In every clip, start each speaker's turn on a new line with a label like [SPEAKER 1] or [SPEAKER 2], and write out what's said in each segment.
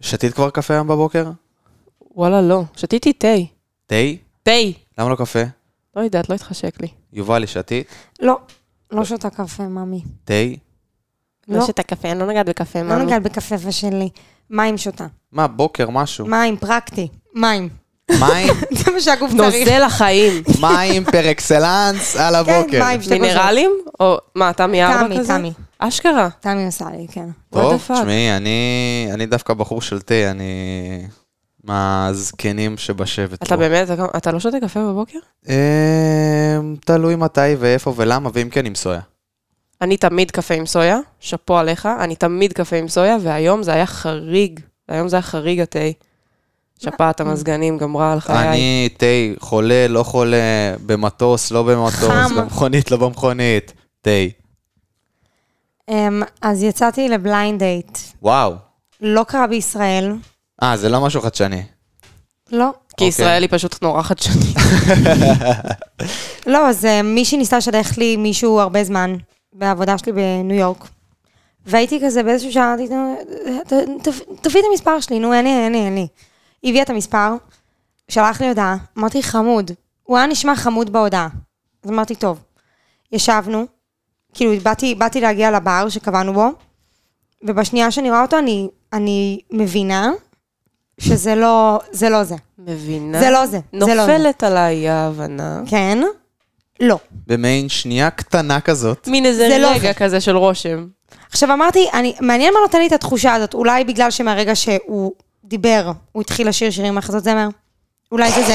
[SPEAKER 1] שתית כבר קפה היום בבוקר?
[SPEAKER 2] וואלה, לא. שתיתי תה.
[SPEAKER 1] תה?
[SPEAKER 2] תה.
[SPEAKER 1] למה לא קפה?
[SPEAKER 2] לא יודעת, לא התחשק לי.
[SPEAKER 1] יובלי, שתית?
[SPEAKER 3] לא, לא שותה קפה, מאמי.
[SPEAKER 1] תה?
[SPEAKER 3] לא,
[SPEAKER 2] שתה קפה, אני לא נוגעת בקפה,
[SPEAKER 3] לא נגעת בקפפה שלי. מים שותה.
[SPEAKER 1] מה, בוקר, משהו?
[SPEAKER 3] מים, פרקטי. מים.
[SPEAKER 1] מים?
[SPEAKER 3] זה מה שהגוף צריך.
[SPEAKER 2] נוזל החיים.
[SPEAKER 1] מים פר אקסלנס
[SPEAKER 2] כן,
[SPEAKER 1] על הבוקר.
[SPEAKER 3] כן, מים, שתי גוזלות.
[SPEAKER 2] מינרלים? או מה, תמי ארבע
[SPEAKER 3] תמי,
[SPEAKER 2] כזה?
[SPEAKER 3] תמי.
[SPEAKER 2] אשכרה.
[SPEAKER 3] תמי עושה לי, כן.
[SPEAKER 1] טוב,
[SPEAKER 2] What the fuck?
[SPEAKER 1] תשמעי, אני, אני דווקא בחור של תה, אני מהזקנים שבשבט.
[SPEAKER 2] אתה
[SPEAKER 1] פה.
[SPEAKER 2] באמת, אתה- אתה לא שותה קפה בבוקר?
[SPEAKER 1] אמ, תלוי מתי ואיפה ולמה, ואם כן, עם סויה.
[SPEAKER 2] אני תמיד קפה עם סויה, שאפו עליך, אני תמיד קפה עם סויה, והיום זה היה חריג. היום זה היה חריג התה. שפעת המזגנים גמרה על חיי.
[SPEAKER 1] אני תה, חולה, לא חולה, במטוס, לא במטוס,
[SPEAKER 3] חם.
[SPEAKER 1] במכונית, לא במכונית, תה.
[SPEAKER 3] אמ, אז יצאתי לבליינד דייט.
[SPEAKER 1] וואו.
[SPEAKER 3] לא קרה בישראל.
[SPEAKER 1] אה, זה לא משהו חדשני.
[SPEAKER 3] לא.
[SPEAKER 2] כי
[SPEAKER 1] אוקיי.
[SPEAKER 2] ישראל היא פשוט נורא חדשנית.
[SPEAKER 3] לא, אז אה, מישהי ניסתה לשלח לי מישהו הרבה זמן, בעבודה שלי בניו יורק. והייתי כזה באיזשהו שעה, אמרתי, "נו, ת- ת- תביא את המספר שלי, נו, אין לי, אין לי, אין לי. היא הביאה את המספר, שלח לי הודעה, אמרתי, חמוד. הוא היה נשמע חמוד בהודעה. אז אמרתי, טוב. ישבנו, כאילו, באתי, באתי להגיע לבר שקבענו בו, ובשנייה שאני רואה אותו, אני, אני מבינה שזה לא זה. לא זה.
[SPEAKER 2] מבינה?
[SPEAKER 3] זה לא זה, זה לא זה.
[SPEAKER 2] נופלת עליי ההבנה.
[SPEAKER 3] כן? לא.
[SPEAKER 1] במעין שנייה קטנה כזאת.
[SPEAKER 2] מין איזה
[SPEAKER 3] זה לא
[SPEAKER 2] רגע כזה של רושם.
[SPEAKER 3] עכשיו אמרתי, אני, מעניין מה נותן לי את התחושה הזאת, אולי בגלל שמהרגע שהוא דיבר, הוא התחיל לשיר שירים מהחזות זמר? אולי זה זה.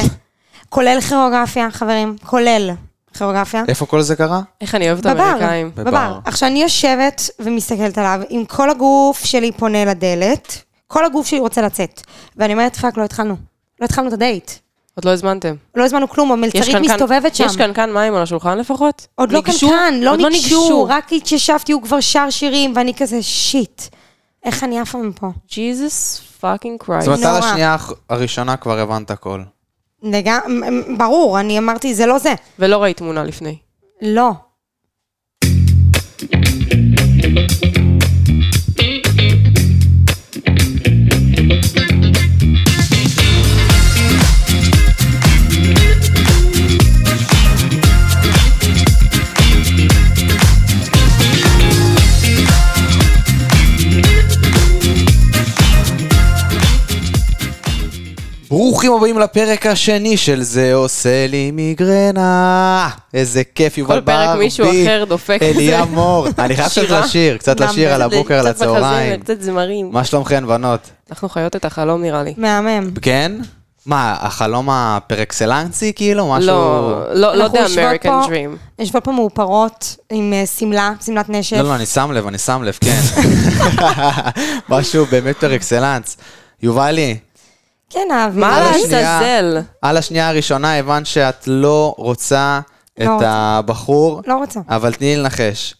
[SPEAKER 3] כולל כירוגרפיה, חברים, כולל כירוגרפיה.
[SPEAKER 1] איפה כל זה קרה?
[SPEAKER 2] איך אני אוהבת
[SPEAKER 3] בבר,
[SPEAKER 2] אמריקאים.
[SPEAKER 1] בבר.
[SPEAKER 3] בבר. עכשיו, אני יושבת ומסתכלת עליו, עם כל הגוף שלי פונה לדלת, כל הגוף שלי רוצה לצאת. ואני אומרת, פאק, לא התחלנו. לא התחלנו את הדייט.
[SPEAKER 2] עוד לא הזמנתם.
[SPEAKER 3] לא הזמנו כלום, המלצרית
[SPEAKER 2] קנקן-
[SPEAKER 3] מסתובבת שם.
[SPEAKER 2] יש קנקן מים על השולחן לפחות?
[SPEAKER 3] עוד לא
[SPEAKER 2] ניגשו?
[SPEAKER 3] קנקן, לא
[SPEAKER 2] עוד
[SPEAKER 3] ניגשו, רק התיישבתי, הוא כבר שר שירים, ואני כזה, שיט. איך אני עפה מפה?
[SPEAKER 2] ג'יזוס פאקינג קרייסט.
[SPEAKER 1] זאת אומרת, על
[SPEAKER 3] נורא.
[SPEAKER 1] השנייה האח- הראשונה כבר הבנת הכל.
[SPEAKER 3] לגמרי, ברור, אני אמרתי, זה לא זה.
[SPEAKER 2] ולא ראית תמונה לפני.
[SPEAKER 3] לא.
[SPEAKER 1] ברוכים הבאים לפרק השני של זה עושה לי מיגרנה. איזה כיף, יובל
[SPEAKER 2] כל פרק
[SPEAKER 1] ברבי.
[SPEAKER 2] מישהו אחר דופק
[SPEAKER 1] אליה מור. אני חייב קצת
[SPEAKER 2] שירה.
[SPEAKER 1] לשיר, קצת
[SPEAKER 3] גם
[SPEAKER 1] לשיר על
[SPEAKER 2] קצת-
[SPEAKER 1] הבוקר, על הצהריים.
[SPEAKER 2] קצת בחזיר, קצת זמרים.
[SPEAKER 1] מה שלומכן, בנות?
[SPEAKER 2] אנחנו חיות את החלום נראה לי.
[SPEAKER 3] מהמם.
[SPEAKER 1] כן? מה, החלום הפרקסלנסי כאילו? משהו...
[SPEAKER 2] לא, לא, לא
[SPEAKER 3] אנחנו
[SPEAKER 2] the
[SPEAKER 3] יושבות
[SPEAKER 2] American
[SPEAKER 3] פה-
[SPEAKER 2] dream.
[SPEAKER 3] יושבות פה מאופרות עם אה, שמלה, שמלת נשף.
[SPEAKER 1] לא, לא, אני שם לב, אני שם לב, כן. משהו באמת פרקסלנס. יובלי,
[SPEAKER 3] כן, אהב.
[SPEAKER 2] מה
[SPEAKER 1] על השנייה.
[SPEAKER 2] לעזאזל?
[SPEAKER 1] על השנייה הראשונה הבנת שאת לא רוצה
[SPEAKER 3] לא
[SPEAKER 1] את
[SPEAKER 3] רוצה.
[SPEAKER 1] הבחור,
[SPEAKER 3] לא רוצה.
[SPEAKER 1] אבל תני לי לנחש.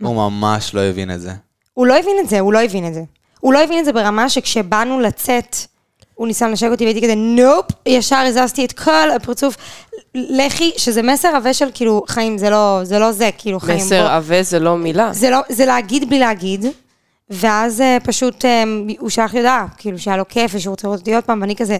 [SPEAKER 1] הוא ממש לא הבין את זה.
[SPEAKER 3] הוא לא הבין את זה, הוא לא הבין את זה. הוא לא הבין את זה ברמה שכשבאנו לצאת, הוא ניסה לנשק אותי והייתי כזה, נופ, ישר הזזתי את כל הפרצוף. לכי, שזה מסר עבה של כאילו, חיים, זה לא זה, לא זה כאילו, חיים. בוא-
[SPEAKER 2] מסר עבה זה לא מילה.
[SPEAKER 3] זה, לא, זה להגיד בלי להגיד, ואז אה, פשוט אה, הוא שלח לי הודעה, כאילו שהיה לו כיף ושהוא רוצה לראות אותי עוד פעם, ואני כזה,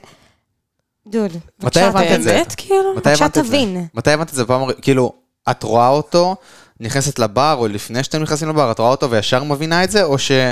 [SPEAKER 3] דוד,
[SPEAKER 1] מתי
[SPEAKER 3] בבקשה,
[SPEAKER 1] הבנת את זה?
[SPEAKER 2] באמת כאילו?
[SPEAKER 1] מתי
[SPEAKER 3] עכשיו
[SPEAKER 1] הבנת את זה?
[SPEAKER 3] תבין.
[SPEAKER 1] מתי הבנת את זה? פעם, הר- כאילו, את רואה אותו, נכנסת לבר, או לפני שאתם נכנסים לבר, את רואה אותו וישר מבינה את זה, או, ש... או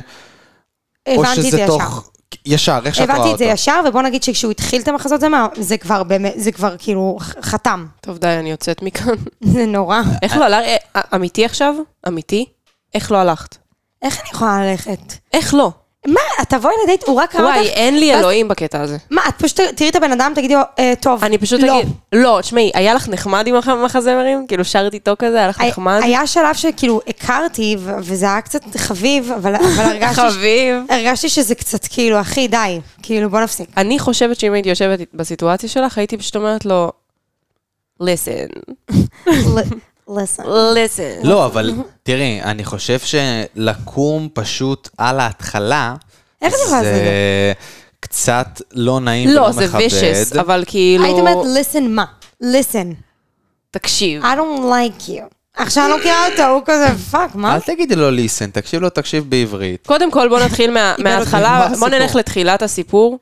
[SPEAKER 3] הבנתי את זה
[SPEAKER 1] שזה
[SPEAKER 3] ישר.
[SPEAKER 1] תוך... ישר, איך שאת רואה אותו.
[SPEAKER 3] הבנתי את זה ישר, ובוא נגיד שכשהוא התחיל את המחזות זמר, זה כבר באמת, זה כבר כאילו ח- חתם.
[SPEAKER 2] טוב די, אני יוצאת מכאן.
[SPEAKER 3] זה נורא.
[SPEAKER 2] איך לא הלכת? אה, אמיתי עכשיו? אמיתי? איך לא הלכת?
[SPEAKER 3] איך אני יכולה ללכת?
[SPEAKER 2] איך לא?
[SPEAKER 3] מה, את תבואי לדייט, הוא רק ראה
[SPEAKER 2] וואי,
[SPEAKER 3] אותך?
[SPEAKER 2] אין לי
[SPEAKER 3] ואז-
[SPEAKER 2] אלוהים בקטע הזה.
[SPEAKER 3] מה, את פשוט תראי את הבן אדם, תגידי, לו, אה, טוב,
[SPEAKER 2] אני פשוט
[SPEAKER 3] לא.
[SPEAKER 2] אגיד... לא, תשמעי, היה לך נחמד עם המחזמרים? כאילו שרת איתו כזה, היה לך
[SPEAKER 3] היה-
[SPEAKER 2] נחמד?
[SPEAKER 3] היה שלב שכאילו הכרתי, ו- וזה היה קצת חביב, אבל אבל הרגשתי... ש-
[SPEAKER 2] חביב.
[SPEAKER 3] הרגשתי שזה קצת כאילו, אחי, די, כאילו, בוא נפסיק.
[SPEAKER 2] אני חושבת שאם הייתי יושבת בסיטואציה שלך, הייתי פשוט אומרת לו, listen,
[SPEAKER 3] listen.
[SPEAKER 2] listen.
[SPEAKER 1] לא, אבל תראי, אני חושב שלקום פשוט על ההתחלה,
[SPEAKER 3] איך את יכולה לעשות את
[SPEAKER 1] זה קצת לא נעים ולא
[SPEAKER 2] לא,
[SPEAKER 1] מכבד.
[SPEAKER 2] זה vicious, אבל כאילו,
[SPEAKER 3] הייתי אומרת, listen מה? listen,
[SPEAKER 2] תקשיב.
[SPEAKER 3] I don't like you. עכשיו אני לא מכירה אותו, הוא כזה, פאק, מה?
[SPEAKER 2] אה?
[SPEAKER 1] אל תגידי לו ליסן, תקשיב לו, תקשיב בעברית.
[SPEAKER 2] קודם כל, בוא נתחיל מה-
[SPEAKER 1] יודעת
[SPEAKER 2] מההתחלה,
[SPEAKER 1] מה
[SPEAKER 2] בוא נלך
[SPEAKER 1] הסיפור.
[SPEAKER 2] לתחילת הסיפור.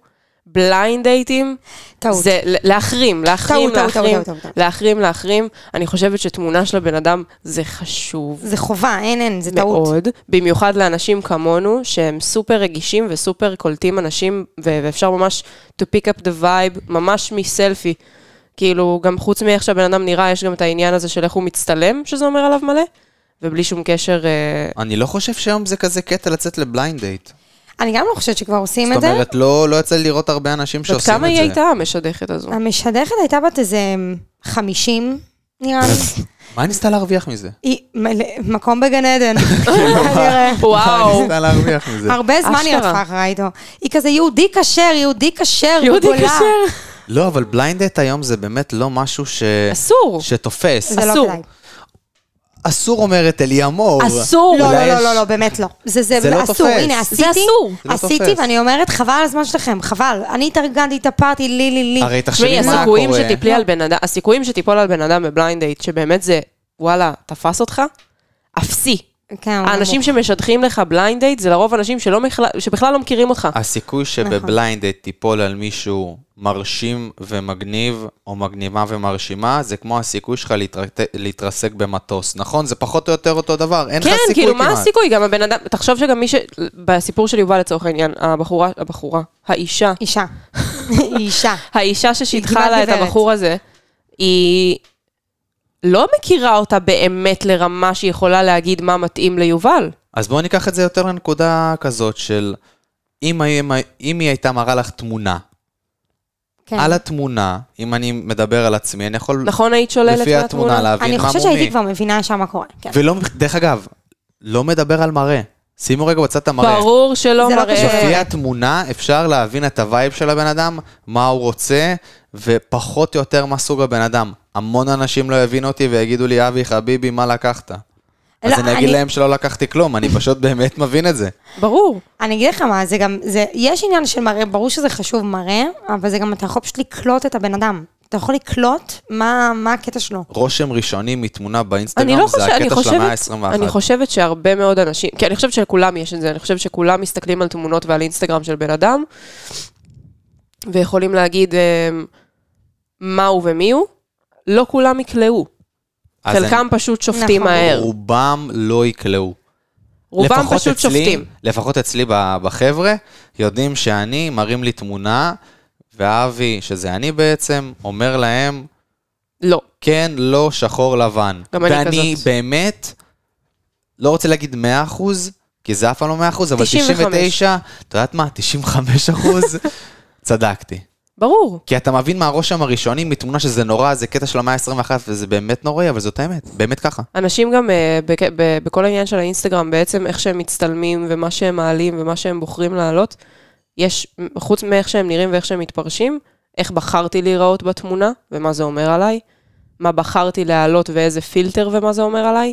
[SPEAKER 2] בליינד דייטים,
[SPEAKER 3] טעות.
[SPEAKER 2] זה ל- להחרים, להחרים,
[SPEAKER 3] טעות, טעות,
[SPEAKER 2] להחרים,
[SPEAKER 3] טעות, טעות, טעות.
[SPEAKER 2] להחרים, להחרים. אני חושבת שתמונה של הבן אדם זה חשוב
[SPEAKER 3] זה חובה, אין, אין, זה טעות.
[SPEAKER 2] מאוד, במיוחד לאנשים כמונו, שהם סופר רגישים וסופר קולטים אנשים, ו- ואפשר ממש to pick up the vibe, ממש מסלפי. כאילו, גם חוץ מאיך שהבן אדם נראה, יש גם את העניין הזה של איך הוא מצטלם, שזה אומר עליו מלא, ובלי שום קשר... אה,
[SPEAKER 1] אני לא חושב שהיום זה כזה קטע לצאת לבליינד דייט.
[SPEAKER 3] אני גם לא חושבת שכבר עושים את
[SPEAKER 1] זאת
[SPEAKER 3] זה.
[SPEAKER 1] אומרת, לא לא יצא לי לראות הרבה אנשים
[SPEAKER 2] עד
[SPEAKER 1] שעושים את זה.
[SPEAKER 2] כמה היא הייתה המשדכת הזו?
[SPEAKER 3] המשדכת הייתה בת איזה 50, נראה לי.
[SPEAKER 1] מה היא ניסתה להרוויח מזה?
[SPEAKER 3] היא מלא- מקום בגן עדן, כנראה.
[SPEAKER 1] מה היא
[SPEAKER 2] וואו.
[SPEAKER 1] ניסתה להרוויח מזה?
[SPEAKER 3] הרבה זמן היא
[SPEAKER 2] אשכרה.
[SPEAKER 3] רדפה אחריי איתו. היא כזה יהודי כשר, יהודי כשר,
[SPEAKER 2] יהודי
[SPEAKER 3] גולה.
[SPEAKER 2] כשר.
[SPEAKER 1] לא, אבל בליינד דייט היום זה באמת לא משהו ש...
[SPEAKER 2] אסור.
[SPEAKER 1] שתופס.
[SPEAKER 3] זה לא
[SPEAKER 2] אסור.
[SPEAKER 3] כדאי.
[SPEAKER 1] אסור אומרת אליאמור.
[SPEAKER 2] אסור.
[SPEAKER 3] לא,
[SPEAKER 1] אולי
[SPEAKER 3] לא, לא,
[SPEAKER 1] יש-
[SPEAKER 3] לא, לא, באמת לא. זה, זה,
[SPEAKER 1] זה לא
[SPEAKER 3] אסור,
[SPEAKER 1] תופס.
[SPEAKER 3] הנה,
[SPEAKER 1] זה
[SPEAKER 3] עשיתי,
[SPEAKER 2] אסור.
[SPEAKER 1] זה לא
[SPEAKER 3] עשיתי,
[SPEAKER 1] תופס.
[SPEAKER 3] ואני אומרת, חבל על הזמן שלכם, חבל. אני התארגנתי, התאפרתי, לי, לי, לי.
[SPEAKER 1] הרי
[SPEAKER 2] תשמעי,
[SPEAKER 1] תחשבי מה
[SPEAKER 2] הסיכויים
[SPEAKER 1] קורה.
[SPEAKER 2] שתיפלי על בן אדם, הסיכויים שתיפול על בן אדם בבליינד דייט, שבאמת זה, וואלה, תפס אותך, אפסי.
[SPEAKER 3] כן,
[SPEAKER 1] אה,
[SPEAKER 3] אבל
[SPEAKER 2] האנשים
[SPEAKER 3] בוא. שלא
[SPEAKER 2] שמשדכים לך בליינד דייט זה לרוב אנשים שלא מכלל- שבכלל לא מכירים אותך.
[SPEAKER 1] הסיכוי
[SPEAKER 2] נכון.
[SPEAKER 1] שבבליינד דייט תיפול על מישהו מרשים ומגניב, או מגניבה ומרשימה, זה כמו הסיכוי שלך להתרט- להתרסק במטוס. נכון? זה פחות או יותר אותו דבר. אין לך סיכוי
[SPEAKER 2] כן,
[SPEAKER 1] כמעט.
[SPEAKER 2] כאילו, מה הסיכוי? גם הבן אדם, תחשוב שגם מי ש... בסיפור של יובל לצורך העניין, הבחורה, הבחורה, האישה,
[SPEAKER 3] אישה. היא אישה.
[SPEAKER 2] האישה
[SPEAKER 3] היא
[SPEAKER 2] ששידכה
[SPEAKER 3] כמעט
[SPEAKER 2] לה את
[SPEAKER 3] גברת.
[SPEAKER 2] הבחור הזה, היא לא מכירה אותה באמת לרמה שהיא יכולה להגיד מה מתאים ליובל.
[SPEAKER 1] אז בואו ניקח את זה יותר לנקודה כזאת של אם, אם, אם היא הייתה מראה לך תמונה,
[SPEAKER 3] כן.
[SPEAKER 1] על התמונה, אם אני מדבר על עצמי, אני יכול
[SPEAKER 2] נכון, היית שוללת
[SPEAKER 1] לפי התמונה להבין
[SPEAKER 3] אני
[SPEAKER 1] מה
[SPEAKER 3] חושבת
[SPEAKER 1] מומי.
[SPEAKER 3] שהייתי כבר מבינה ישר מה קורה. כן.
[SPEAKER 1] ולא, דרך אגב, לא מדבר על מראה. שימו רגע בצד את המראה.
[SPEAKER 2] ברור שלא
[SPEAKER 3] זה לא קשור.
[SPEAKER 2] מראה.
[SPEAKER 1] לפי התמונה אפשר להבין את הווייב של הבן אדם, מה הוא רוצה, ופחות או יותר מה סוג הבן אדם. המון אנשים לא יבינו אותי ויגידו לי, אבי חביבי, מה לקחת? אז
[SPEAKER 3] לא,
[SPEAKER 1] אני אגיד
[SPEAKER 3] אני-
[SPEAKER 1] להם שלא לקחתי כלום, אני פשוט באמת מבין את זה.
[SPEAKER 2] ברור.
[SPEAKER 3] אני אגיד לך מה, זה גם, זה, יש עניין של מראה, ברור שזה חשוב מראה, אבל זה גם, אתה יכול פשוט לקלוט את הבן אדם. אתה יכול לקלוט מה, מה הקטע שלו.
[SPEAKER 1] רושם ראשוני מתמונה
[SPEAKER 2] אני לא
[SPEAKER 1] באינסטגרם זה
[SPEAKER 2] חושבת, אני
[SPEAKER 1] הקטע של המאה
[SPEAKER 2] חושבת, אני
[SPEAKER 1] ה-21.
[SPEAKER 2] חושבת שהרבה מאוד אנשים, כי אני חושבת שלכולם יש את זה, אני חושבת שכולם מסתכלים על תמונות ועל אינסטגרם של בן אדם, ויכולים להגיד אמ, מה הוא ומי הוא, לא כולם יקלעו.
[SPEAKER 1] אז אני-
[SPEAKER 2] חלקם פשוט שופטים
[SPEAKER 3] נכון.
[SPEAKER 2] מהר.
[SPEAKER 1] רובם לא יקלעו.
[SPEAKER 2] רובם
[SPEAKER 1] לפחות
[SPEAKER 2] פשוט
[SPEAKER 1] אצלי-
[SPEAKER 2] שופטים.
[SPEAKER 1] לפחות אצלי ב- בחבר'ה, יודעים שאני, מראים לי תמונה, ואבי, שזה אני בעצם, אומר להם,
[SPEAKER 2] לא.
[SPEAKER 1] כן, לא, שחור, לבן.
[SPEAKER 2] גם אני
[SPEAKER 1] ואני
[SPEAKER 2] כזאת.
[SPEAKER 1] באמת, לא רוצה להגיד 100 אחוז, כי זה אף פעם לא 100 אחוז, אבל
[SPEAKER 2] 95.
[SPEAKER 1] 99, את יודעת מה? 95 אחוז, צדקתי.
[SPEAKER 2] ברור.
[SPEAKER 1] כי אתה מבין מהרושם הראשוני, מתמונה שזה נורא, זה קטע של המאה ה-21, וזה באמת נוראי, אבל זאת האמת, באמת ככה.
[SPEAKER 2] אנשים גם אה, בק- ב- בכל העניין של האינסטגרם, בעצם איך שהם מצטלמים ומה שהם מעלים ומה שהם בוחרים להעלות, יש, חוץ מאיך שהם נראים ואיך שהם מתפרשים, איך בחרתי להיראות בתמונה ומה זה אומר עליי, מה בחרתי להעלות ואיזה פילטר ומה זה אומר עליי,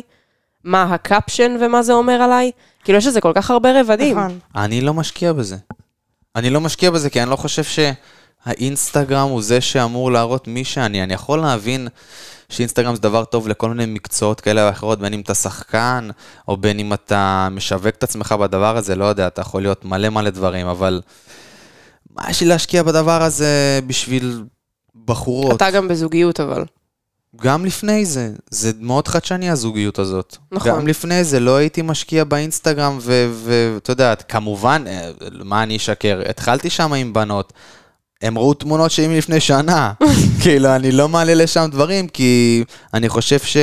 [SPEAKER 2] מה הקפשן ומה זה אומר עליי, כאילו יש לזה כל כך הרבה רבדים.
[SPEAKER 3] נכון.
[SPEAKER 1] אני לא משקיע בזה. אני לא משקיע בזה, כי אני לא חושב שהאינסטגרם הוא זה שאמור להראות מי שאני. אני יכול להבין שאינסטגרם זה דבר טוב לכל מיני מקצועות כאלה ואחרות, בין אם אתה שחקן, או בין אם אתה משווק את עצמך בדבר הזה, לא יודע, אתה יכול להיות מלא מלא דברים, אבל מה יש לי להשקיע בדבר הזה בשביל בחורות?
[SPEAKER 2] אתה גם בזוגיות אבל.
[SPEAKER 1] גם לפני זה, זה מאוד חדשני הזוגיות הזאת.
[SPEAKER 2] נכון.
[SPEAKER 1] גם לפני זה לא הייתי משקיע באינסטגרם, ואתה יודעת, כמובן, אה, מה אני אשקר, התחלתי שם עם בנות. הם ראו תמונות שלי מלפני שנה. כאילו, אני לא מעלה לשם דברים, כי אני חושב ש...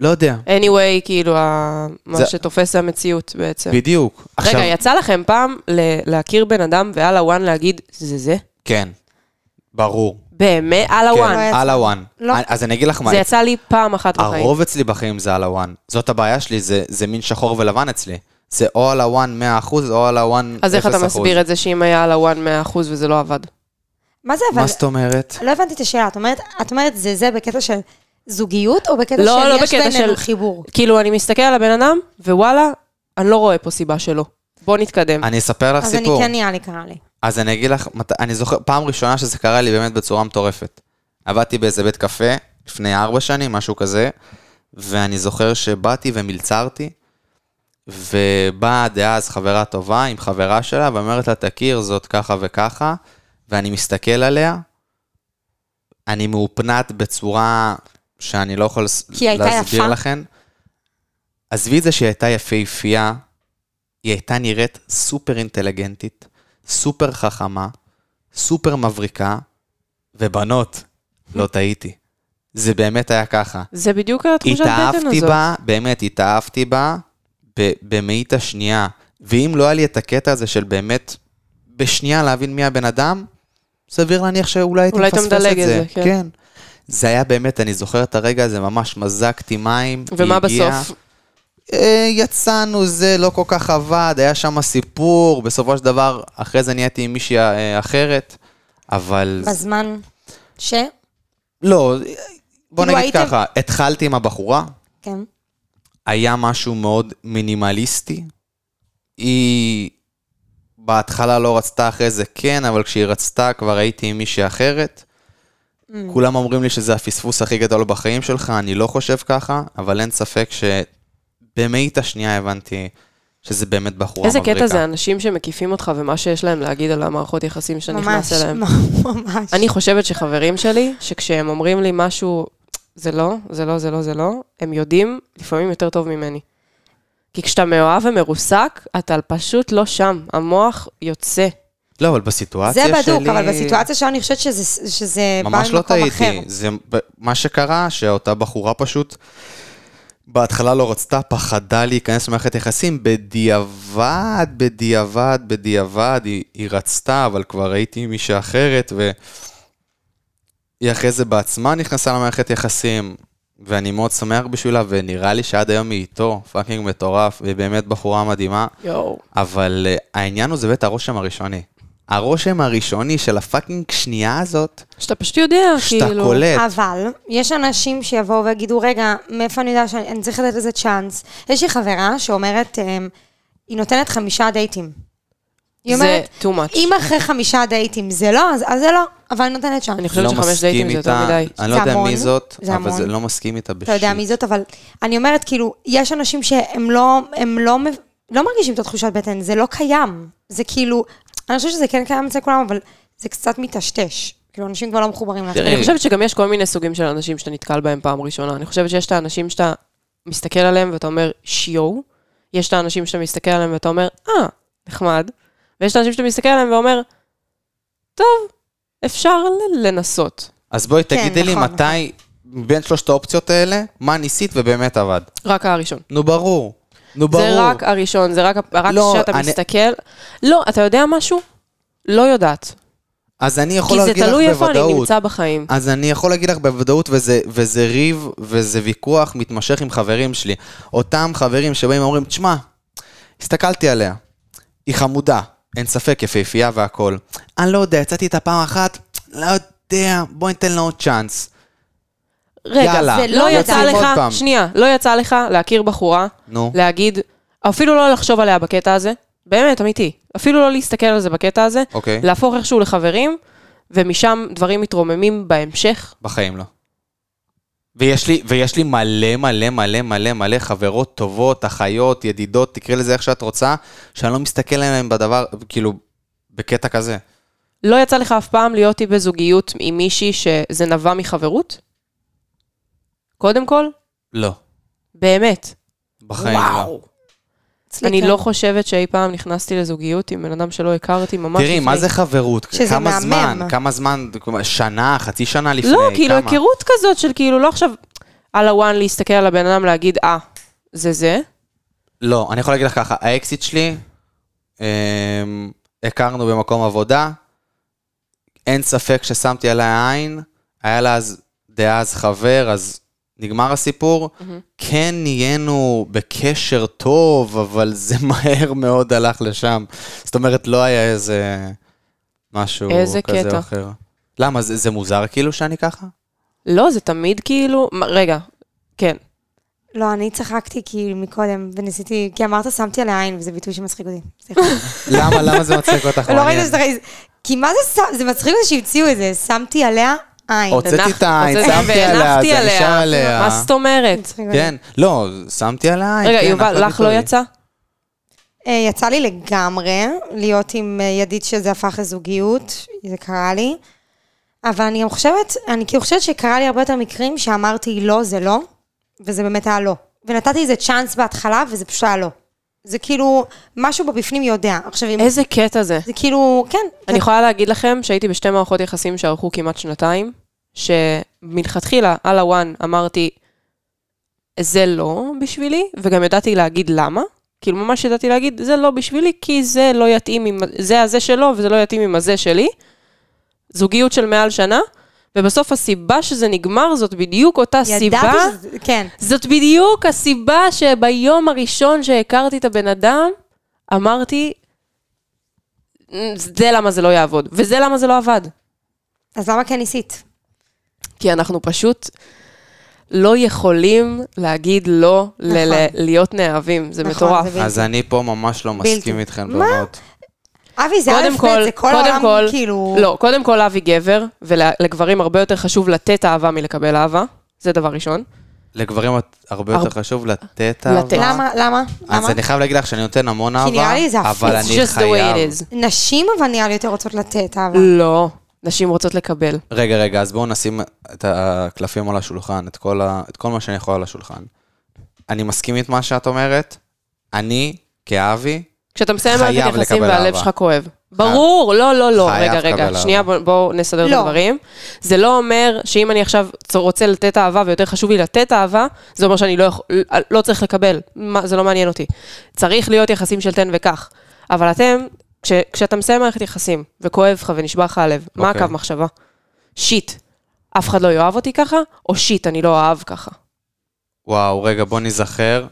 [SPEAKER 1] לא יודע,
[SPEAKER 2] anyway, כאילו, ה- מה
[SPEAKER 1] זה-
[SPEAKER 2] שתופס זה המציאות בעצם.
[SPEAKER 1] בדיוק.
[SPEAKER 2] רגע, יצא לכם פעם ל- להכיר בן אדם ועל הוואן להגיד, זה זה?
[SPEAKER 1] כן, ברור.
[SPEAKER 2] באמת? על הוואן.
[SPEAKER 1] כן,
[SPEAKER 3] לא יצא.
[SPEAKER 1] על הוואן.
[SPEAKER 3] לא.
[SPEAKER 1] אז אני אגיד לך מה,
[SPEAKER 2] זה יצא לי פעם אחת בחיים.
[SPEAKER 1] הרוב אצלי בחיים זה על הוואן. זאת הבעיה שלי, זה, זה מין שחור ולבן אצלי. זה או על הוואן 100% או על הוואן 0%.
[SPEAKER 2] אז איך אתה מסביר את זה שאם היה על הוואן 100% וזה לא עבד?
[SPEAKER 3] מה זה אבל?
[SPEAKER 1] מה זאת אומרת?
[SPEAKER 3] לא הבנתי את השאלה. את אומרת, את אומרת זה זה בקטע של זוגיות, או בקטע
[SPEAKER 2] לא,
[SPEAKER 3] של
[SPEAKER 2] לא
[SPEAKER 3] יש
[SPEAKER 2] בקטע
[SPEAKER 3] בינינו
[SPEAKER 2] של-
[SPEAKER 3] חיבור?
[SPEAKER 2] כאילו, אני מסתכל על הבן אדם, ווואלה, אני לא רואה פה סיבה שלא. בוא נתקדם.
[SPEAKER 1] אני אספר לך
[SPEAKER 3] אז אני
[SPEAKER 1] סיפור.
[SPEAKER 3] כן נראה לי קרה לי.
[SPEAKER 1] אז אני אגיד לך, מת... אני זוכר, פעם ראשונה שזה קרה לי באמת בצורה מטורפת. עבדתי באיזה בית קפה לפני ארבע שנים, משהו כזה, ואני זוכר שבאתי ומלצרתי, ובאה דאז חברה טובה עם חברה שלה, ואומרת לה, תכיר זאת ככה וככה, ואני מסתכל עליה, אני מאופנת בצורה שאני לא יכול לס-
[SPEAKER 3] כי היא הייתה
[SPEAKER 1] להסביר
[SPEAKER 3] יפה?
[SPEAKER 1] לכן. עזבי את זה שהיא הייתה יפהפייה, היא הייתה נראית סופר אינטליגנטית, סופר חכמה, סופר מבריקה, ובנות, לא טעיתי. זה באמת היה ככה.
[SPEAKER 2] זה בדיוק התחושת בטן
[SPEAKER 1] התאהבתי
[SPEAKER 2] הזאת.
[SPEAKER 1] בה, באמת, התאהבתי בה ב- במאית השנייה. ואם לא היה לי את הקטע הזה של באמת, בשנייה להבין מי הבן אדם, סביר להניח שאולי הייתי
[SPEAKER 2] אולי אתה
[SPEAKER 1] מפספס את זה.
[SPEAKER 2] מדלג את זה, כן.
[SPEAKER 1] כן. זה היה באמת, אני זוכר את הרגע הזה, ממש מזגתי מים.
[SPEAKER 2] ומה
[SPEAKER 1] היא הגיעה.
[SPEAKER 2] בסוף?
[SPEAKER 1] אה, יצאנו, זה לא כל כך עבד, היה שם סיפור, בסופו של דבר, אחרי זה נהייתי עם מישהי אה, אחרת, אבל...
[SPEAKER 3] בזמן ש...
[SPEAKER 1] לא, בוא נגיד
[SPEAKER 3] כאילו הייתם-
[SPEAKER 1] ככה, התחלתי עם הבחורה,
[SPEAKER 3] כן.
[SPEAKER 1] היה משהו מאוד מינימליסטי. היא בהתחלה לא רצתה, אחרי זה כן, אבל כשהיא רצתה כבר הייתי עם מישהי אחרת.
[SPEAKER 3] Mm.
[SPEAKER 1] כולם אומרים לי שזה הפספוס הכי גדול בחיים שלך, אני לא חושב ככה, אבל אין ספק שבמאית השנייה הבנתי שזה באמת בחורה
[SPEAKER 2] איזה
[SPEAKER 1] מבריקה.
[SPEAKER 2] קטע זה אנשים שמקיפים אותך ומה שיש להם להגיד על המערכות יחסים שאתה נכנס אליהם.
[SPEAKER 3] ממש.
[SPEAKER 2] אני חושבת שחברים שלי, שכשהם אומרים לי משהו, זה לא, זה לא, זה לא, זה לא, הם יודעים לפעמים יותר טוב ממני. כי כשאתה מאוהב ומרוסק, אתה פשוט לא שם, המוח יוצא.
[SPEAKER 1] לא, אבל בסיטואציה
[SPEAKER 3] זה
[SPEAKER 1] שלי...
[SPEAKER 3] בדוק, אבל בסיטואציה שלנו אני חושבת שזה שזה בא
[SPEAKER 1] ממש לא
[SPEAKER 3] ממקום אחר.
[SPEAKER 1] טעיתי. זה ב- מה שקרה, שאותה בחורה פשוט בהתחלה לא רצתה, פחדה להיכנס למערכת יחסים, בדיעבד, בדיעבד, בדיעבד, היא, היא רצתה, אבל כבר הייתי עם מישהי אחרת, והיא אחרי זה בעצמה נכנסה למערכת יחסים, ואני מאוד שמח בשבילה, ונראה לי שעד היום היא איתו, פאקינג מטורף, והיא באמת בחורה מדהימה.
[SPEAKER 2] יואו.
[SPEAKER 1] אבל אה, העניין הוא זה באמת הרושם הראשוני. הרושם הראשוני של הפאקינג שנייה הזאת,
[SPEAKER 2] שאתה פשוט יודע,
[SPEAKER 1] שאתה
[SPEAKER 2] כאילו...
[SPEAKER 1] קולט.
[SPEAKER 3] אבל יש אנשים שיבואו ויגידו, רגע, מאיפה אני יודע שאני אני צריך לתת לזה צ'אנס? יש לי חברה שאומרת, אמ, היא נותנת חמישה דייטים. היא
[SPEAKER 2] זה
[SPEAKER 3] אומרת,
[SPEAKER 2] too much.
[SPEAKER 3] אם אחרי חמישה דייטים זה לא, אז אז זה לא, אבל אני נותנת צ'אנס.
[SPEAKER 2] אני חושבת
[SPEAKER 1] לא
[SPEAKER 2] שחמש
[SPEAKER 1] מסכים
[SPEAKER 2] דייטים זה יותר
[SPEAKER 1] איתה,
[SPEAKER 2] מדי.
[SPEAKER 1] אני לא
[SPEAKER 3] זה
[SPEAKER 1] יודע מי
[SPEAKER 3] המון,
[SPEAKER 1] זאת,
[SPEAKER 3] זה
[SPEAKER 1] אבל זה
[SPEAKER 3] המון.
[SPEAKER 1] לא מסכים איתה בשיט.
[SPEAKER 3] אתה יודע מי זאת, אבל אני אומרת, כאילו, יש אנשים שהם לא, הם לא, מב- לא מרגישים את התחושת בטן, זה לא קיים. זה כאילו, אני חושבת שזה כן קיים אצל כולם, אבל זה קצת מטשטש. כאילו, אנשים כבר לא מחוברים לאחרים.
[SPEAKER 2] אני חושבת שגם יש כל מיני סוגים של אנשים שאתה נתקל בהם פעם ראשונה. אני חושבת שיש את האנשים שאתה מסתכל עליהם ואתה אומר, שיו. יש את האנשים שאתה מסתכל עליהם ואתה אומר, אה, נחמד. ויש את האנשים שאתה מסתכל עליהם ואומר, טוב, אפשר ל- לנסות.
[SPEAKER 1] אז בואי
[SPEAKER 3] כן,
[SPEAKER 1] תגידי לי
[SPEAKER 3] נכון,
[SPEAKER 1] מתי, בין שלושת האופציות האלה, מה ניסית ובאמת עבד.
[SPEAKER 2] רק הראשון.
[SPEAKER 1] נו ברור. נו ברור.
[SPEAKER 2] זה רק הראשון, זה רק, ה- רק
[SPEAKER 1] לא,
[SPEAKER 2] שאתה
[SPEAKER 1] אני-
[SPEAKER 2] מסתכל. לא, אתה יודע משהו? לא יודעת.
[SPEAKER 1] אז אני יכול
[SPEAKER 2] כי זה
[SPEAKER 1] להגיד לך
[SPEAKER 2] תלוי איפה אני
[SPEAKER 1] בוודאות.
[SPEAKER 2] נמצא בחיים.
[SPEAKER 1] אז אני יכול להגיד לך בוודאות, וזה, וזה ריב, וזה ויכוח מתמשך עם חברים שלי. אותם חברים שבאים ואומרים, תשמע, הסתכלתי עליה, היא חמודה, אין ספק, יפהפייה והכול. אני לא יודע, יצאתי איתה פעם אחת, לא יודע, בוא ניתן לה עוד צ'אנס.
[SPEAKER 2] רגע,
[SPEAKER 1] יאללה,
[SPEAKER 2] זה לא יצא
[SPEAKER 1] יוצאים עוד פעם.
[SPEAKER 2] לך, שנייה, לא יצא לך להכיר בחורה,
[SPEAKER 1] נו.
[SPEAKER 2] להגיד, אפילו לא לחשוב עליה בקטע הזה, באמת, אמיתי, אפילו לא להסתכל על זה בקטע הזה,
[SPEAKER 1] אוקיי.
[SPEAKER 2] להפוך איכשהו לחברים, ומשם דברים מתרוממים בהמשך.
[SPEAKER 1] בחיים לא. ויש לי, ויש לי מלא מלא מלא מלא מלא חברות טובות, אחיות, ידידות, תקראי לזה איך שאת רוצה, שאני לא מסתכל עליהן בדבר, כאילו, בקטע כזה.
[SPEAKER 2] לא יצא לך אף פעם להיות היא בזוגיות עם מישהי שזה נבע מחברות? קודם כל,
[SPEAKER 1] לא.
[SPEAKER 2] באמת.
[SPEAKER 1] בחיים לא.
[SPEAKER 3] אצלי
[SPEAKER 2] אני
[SPEAKER 3] כן.
[SPEAKER 2] לא חושבת שאי פעם נכנסתי לזוגיות עם בן אדם שלא הכרתי ממש לפני.
[SPEAKER 1] תראי, מה זה חברות?
[SPEAKER 3] שזה
[SPEAKER 1] כמה
[SPEAKER 3] מהמם.
[SPEAKER 1] זמן? כמה זמן? שנה? חצי שנה לפני?
[SPEAKER 2] לא, כאילו
[SPEAKER 1] כמה?
[SPEAKER 2] היכרות כזאת של כאילו, לא עכשיו על הוואן להסתכל על הבן אדם להגיד, אה, זה זה.
[SPEAKER 1] לא, אני יכול להגיד לך ככה, האקזיט שלי, אמ, הכרנו במקום עבודה, אין ספק ששמתי עליה עין, היה לה אז, דאז חבר, אז נגמר הסיפור. כן נהיינו בקשר טוב, אבל זה מהר מאוד הלך לשם. זאת אומרת, לא היה איזה משהו
[SPEAKER 2] איזה
[SPEAKER 1] כזה
[SPEAKER 2] קטע.
[SPEAKER 1] או אחר. למה, זה, זה מוזר כאילו שאני ככה?
[SPEAKER 2] לא, זה תמיד כאילו, מה- רגע, כן.
[SPEAKER 3] לא, אני צחקתי כי מקודם, וניסיתי, כי אמרת שמתי עליה עין, וזה ביטוי שמצחיק אותי. סליחה. לא
[SPEAKER 1] למה, למה זה מצחיק אותך?
[SPEAKER 3] ולא
[SPEAKER 2] לא
[SPEAKER 1] מעניין.
[SPEAKER 3] ראית שאתה... כי מה זה, ש- זה מצחיק אותי שהמציאו את זה, שמתי עליה עין.
[SPEAKER 1] הוצאתי
[SPEAKER 2] הנח-
[SPEAKER 1] את העין,
[SPEAKER 2] הוצאתי
[SPEAKER 1] שמתי עליה,
[SPEAKER 2] והנחתי
[SPEAKER 1] זה נשאר עליה.
[SPEAKER 2] מה זאת אומרת?
[SPEAKER 1] כן, לא, שמתי על העין.
[SPEAKER 2] רגע,
[SPEAKER 1] כן,
[SPEAKER 2] יובל,
[SPEAKER 1] הכל
[SPEAKER 2] לך לא
[SPEAKER 1] בטוב.
[SPEAKER 2] יצא?
[SPEAKER 3] אה, יצא לי לגמרי להיות עם אה, ידיד שזה הפך לזוגיות, זה קרה לי. אבל אני גם חושבת, אני כאילו חושבת שקרה לי הרבה יותר מקרים שאמרתי לא, זה לא, וזה באמת היה לא. ונתתי איזה צ'אנס בהתחלה, וזה פשוט היה לא. זה כאילו, משהו בבפנים יודע. עכשיו, אם...
[SPEAKER 2] איזה קטע זה.
[SPEAKER 3] זה כאילו, כן.
[SPEAKER 2] אני יכולה להגיד לכם שהייתי בשתי מערכות יחסים שארכו כמעט שנתיים, שמלכתחילה, על הוואן, אמרתי, זה לא בשבילי, וגם ידעתי להגיד למה. כאילו, ממש ידעתי להגיד, זה לא בשבילי, כי זה לא יתאים עם, זה הזה שלו, וזה לא יתאים עם הזה שלי. זוגיות של מעל שנה, ובסוף הסיבה שזה נגמר, זאת בדיוק אותה סיבה.
[SPEAKER 3] ידעתי שזה... כן.
[SPEAKER 2] זאת בדיוק הסיבה שביום הראשון שהכרתי את הבן אדם, אמרתי, זה למה זה לא יעבוד, וזה למה זה לא עבד.
[SPEAKER 3] אז למה כן ניסית?
[SPEAKER 2] כי אנחנו פשוט לא יכולים להגיד לא ל-
[SPEAKER 3] נכון.
[SPEAKER 2] ל- להיות נאהבים, זה
[SPEAKER 3] נכון,
[SPEAKER 2] מטורף.
[SPEAKER 3] זה
[SPEAKER 1] אז אני פה ממש לא
[SPEAKER 3] בלתי.
[SPEAKER 1] מסכים איתכם,
[SPEAKER 3] מה?
[SPEAKER 1] בנות.
[SPEAKER 3] אבי, זה
[SPEAKER 2] קודם
[SPEAKER 3] א' ב',
[SPEAKER 2] כל,
[SPEAKER 3] זה כל
[SPEAKER 2] קודם
[SPEAKER 3] העולם,
[SPEAKER 2] כל,
[SPEAKER 3] כאילו...
[SPEAKER 2] לא, קודם כל אבי גבר, ולגברים הרבה יותר חשוב לתת אהבה מלקבל אהבה, זה דבר ראשון.
[SPEAKER 1] לגברים הרבה יותר
[SPEAKER 2] הרבה-
[SPEAKER 1] חשוב לתת
[SPEAKER 2] לתת.
[SPEAKER 1] אהבה.
[SPEAKER 3] למה? למה?
[SPEAKER 1] אז
[SPEAKER 3] למה?
[SPEAKER 1] אני חייב להגיד לך שאני נותן המון אהבה,
[SPEAKER 3] נראה לי זה הפוך.
[SPEAKER 1] אבל
[SPEAKER 2] It's
[SPEAKER 1] אני
[SPEAKER 2] just the way
[SPEAKER 1] חייב...
[SPEAKER 2] it is.
[SPEAKER 3] נשים אבל נראה לי יותר רוצות לתת, אבל...
[SPEAKER 2] לא, נשים רוצות לקבל.
[SPEAKER 1] רגע, רגע, אז בואו נשים את הקלפים על השולחן, את כל, ה... את כל מה שאני יכול על השולחן. אני מסכים עם מה שאת אומרת, אני, כאבי,
[SPEAKER 2] כשאתה מסיים
[SPEAKER 1] חייב
[SPEAKER 2] מערכת יחסים
[SPEAKER 1] לקבל
[SPEAKER 2] והלב
[SPEAKER 1] אהבה.
[SPEAKER 2] שלך כואב. ברור, לא, לא, לא.
[SPEAKER 1] חייב
[SPEAKER 2] רגע,
[SPEAKER 1] לקבל
[SPEAKER 2] רגע, שנייה, בואו בוא נסדר את
[SPEAKER 3] לא.
[SPEAKER 2] הדברים. זה לא אומר שאם אני עכשיו צ- רוצה לתת אהבה ויותר חשוב לי לתת אהבה, זה אומר שאני לא, יכול, לא צריך לקבל, מה, זה לא מעניין אותי. צריך להיות יחסים של תן וקח. אבל אתם, כש, כשאתה מסיים מערכת יחסים וכואב לך ונשבר לך הלב, מה
[SPEAKER 1] אוקיי.
[SPEAKER 2] הקו מחשבה? שיט, אף אחד לא יאהב אותי ככה, או שיט, אני לא אהב ככה.
[SPEAKER 1] וואו, רגע, בוא ניזכר.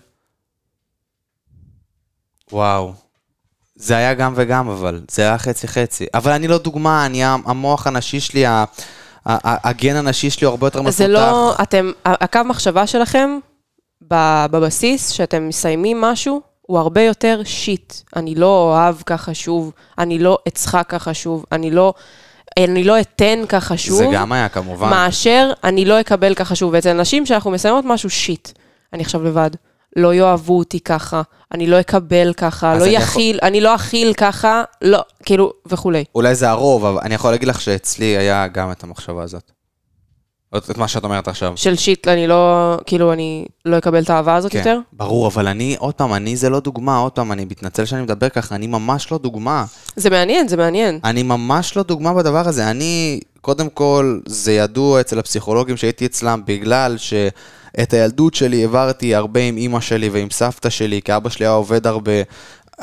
[SPEAKER 1] וואו. זה היה גם וגם, אבל. זה היה חצי-חצי. אבל אני לא דוגמה, אני, ה- המוח הנשי שלי, ה- ה- ה- הגן הנשי שלי הוא הרבה יותר מפותח.
[SPEAKER 2] זה לא, אתם, הקו מחשבה שלכם ב- בבסיס, שאתם מסיימים משהו, הוא הרבה יותר שיט. אני לא אוהב ככה שוב, אני לא אצחק ככה שוב, אני לא, אני לא אתן ככה שוב.
[SPEAKER 1] זה גם היה, כמובן.
[SPEAKER 2] מאשר אני לא אקבל ככה שוב. ואצל נשים שאנחנו מסיימות משהו, שיט. אני עכשיו לבד. לא יאהבו אותי ככה, אני לא אקבל ככה,
[SPEAKER 1] אז
[SPEAKER 2] לא
[SPEAKER 1] אני
[SPEAKER 2] יכיל, אני לא אכיל ככה, לא, כאילו, וכולי.
[SPEAKER 1] אולי זה הרוב, אבל אני יכול להגיד לך שאצלי היה גם את המחשבה הזאת. את את מה שאת אומרת עכשיו.
[SPEAKER 2] של שיט, אני לא, כאילו, אני לא אקבל את האהבה
[SPEAKER 1] כן.
[SPEAKER 2] הזאת יותר.
[SPEAKER 1] ברור, אבל אני, עוד פעם, אני זה לא דוגמה, עוד פעם, אני מתנצל שאני מדבר ככה, אני ממש לא דוגמה.
[SPEAKER 2] זה מעניין, זה מעניין.
[SPEAKER 1] אני ממש לא דוגמה בדבר הזה. אני, קודם כל, זה ידוע אצל הפסיכולוגים שהייתי אצלם, בגלל שאת הילדות שלי העברתי הרבה עם אימא שלי ועם סבתא שלי, כי אבא שלי היה עובד הרבה.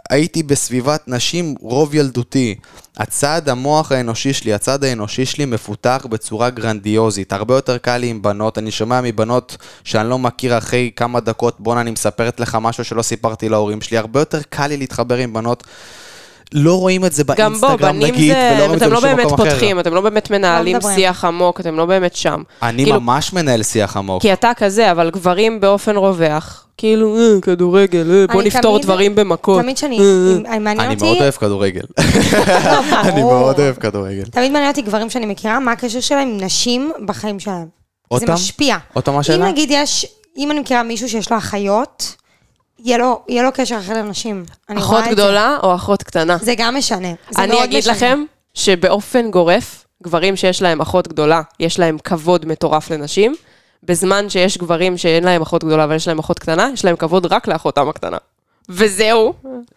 [SPEAKER 1] הייתי בסביבת נשים רוב ילדותי. הצד המוח האנושי שלי, הצד האנושי שלי מפותח בצורה גרנדיוזית. הרבה יותר קל לי עם בנות, אני שומע מבנות שאני לא מכיר אחרי כמה דקות, בואנה, אני מספרת לך משהו שלא סיפרתי להורים שלי. הרבה יותר קל לי להתחבר עם בנות. לא רואים את זה
[SPEAKER 2] גם בו,
[SPEAKER 1] באינסטגרם,
[SPEAKER 2] בנים
[SPEAKER 1] נגיד, ולא
[SPEAKER 2] זה,
[SPEAKER 1] רואים את זה
[SPEAKER 2] אתם לא
[SPEAKER 1] בשום
[SPEAKER 2] באמת
[SPEAKER 1] מקום אחר.
[SPEAKER 2] פותחים, אתם לא באמת מנהלים
[SPEAKER 3] לא מדברים.
[SPEAKER 2] שיח עמוק, אתם לא באמת שם.
[SPEAKER 1] אני
[SPEAKER 2] כאילו- כן,
[SPEAKER 1] ממש מנהל שיח עמוק.
[SPEAKER 2] כי אתה כזה, אבל גברים באופן רווח, כאילו, אה, כדורגל, אה, בוא
[SPEAKER 3] אני
[SPEAKER 2] נפתור
[SPEAKER 3] תמיד-
[SPEAKER 2] דברים במכות.
[SPEAKER 3] תמיד שאני,
[SPEAKER 2] אה, אה.
[SPEAKER 3] אם- אם מעניין
[SPEAKER 1] אני
[SPEAKER 3] אותי...
[SPEAKER 1] מאוד אוהב כדורגל.
[SPEAKER 3] ברור.
[SPEAKER 1] אני מאוד אוהב כדורגל.
[SPEAKER 3] תמיד מעניין אותי גברים שאני מכירה, מה הקשר שלהם עם נשים בחיים שלהם.
[SPEAKER 1] עוד
[SPEAKER 3] זה
[SPEAKER 1] פעם?
[SPEAKER 3] משפיע.
[SPEAKER 1] עוד פעם השאלה?
[SPEAKER 3] אם נגיד יש, אם אני מכירה מישהו שיש לו אחיות, יהיה לו, יהיה לו קשר אחר לנשים. אני
[SPEAKER 2] אחות
[SPEAKER 3] רואה את
[SPEAKER 2] גדולה או אחות קטנה?
[SPEAKER 3] זה. זה גם משנה. זה
[SPEAKER 2] אני
[SPEAKER 3] מאוד
[SPEAKER 2] אגיד
[SPEAKER 3] משנה.
[SPEAKER 2] לכם שבאופן גורף, גברים שיש להם אחות גדולה, יש להם כבוד מטורף לנשים, בזמן שיש גברים שאין להם אחות גדולה אבל יש להם אחות קטנה, יש להם כבוד רק לאחותם הקטנה. וזהו.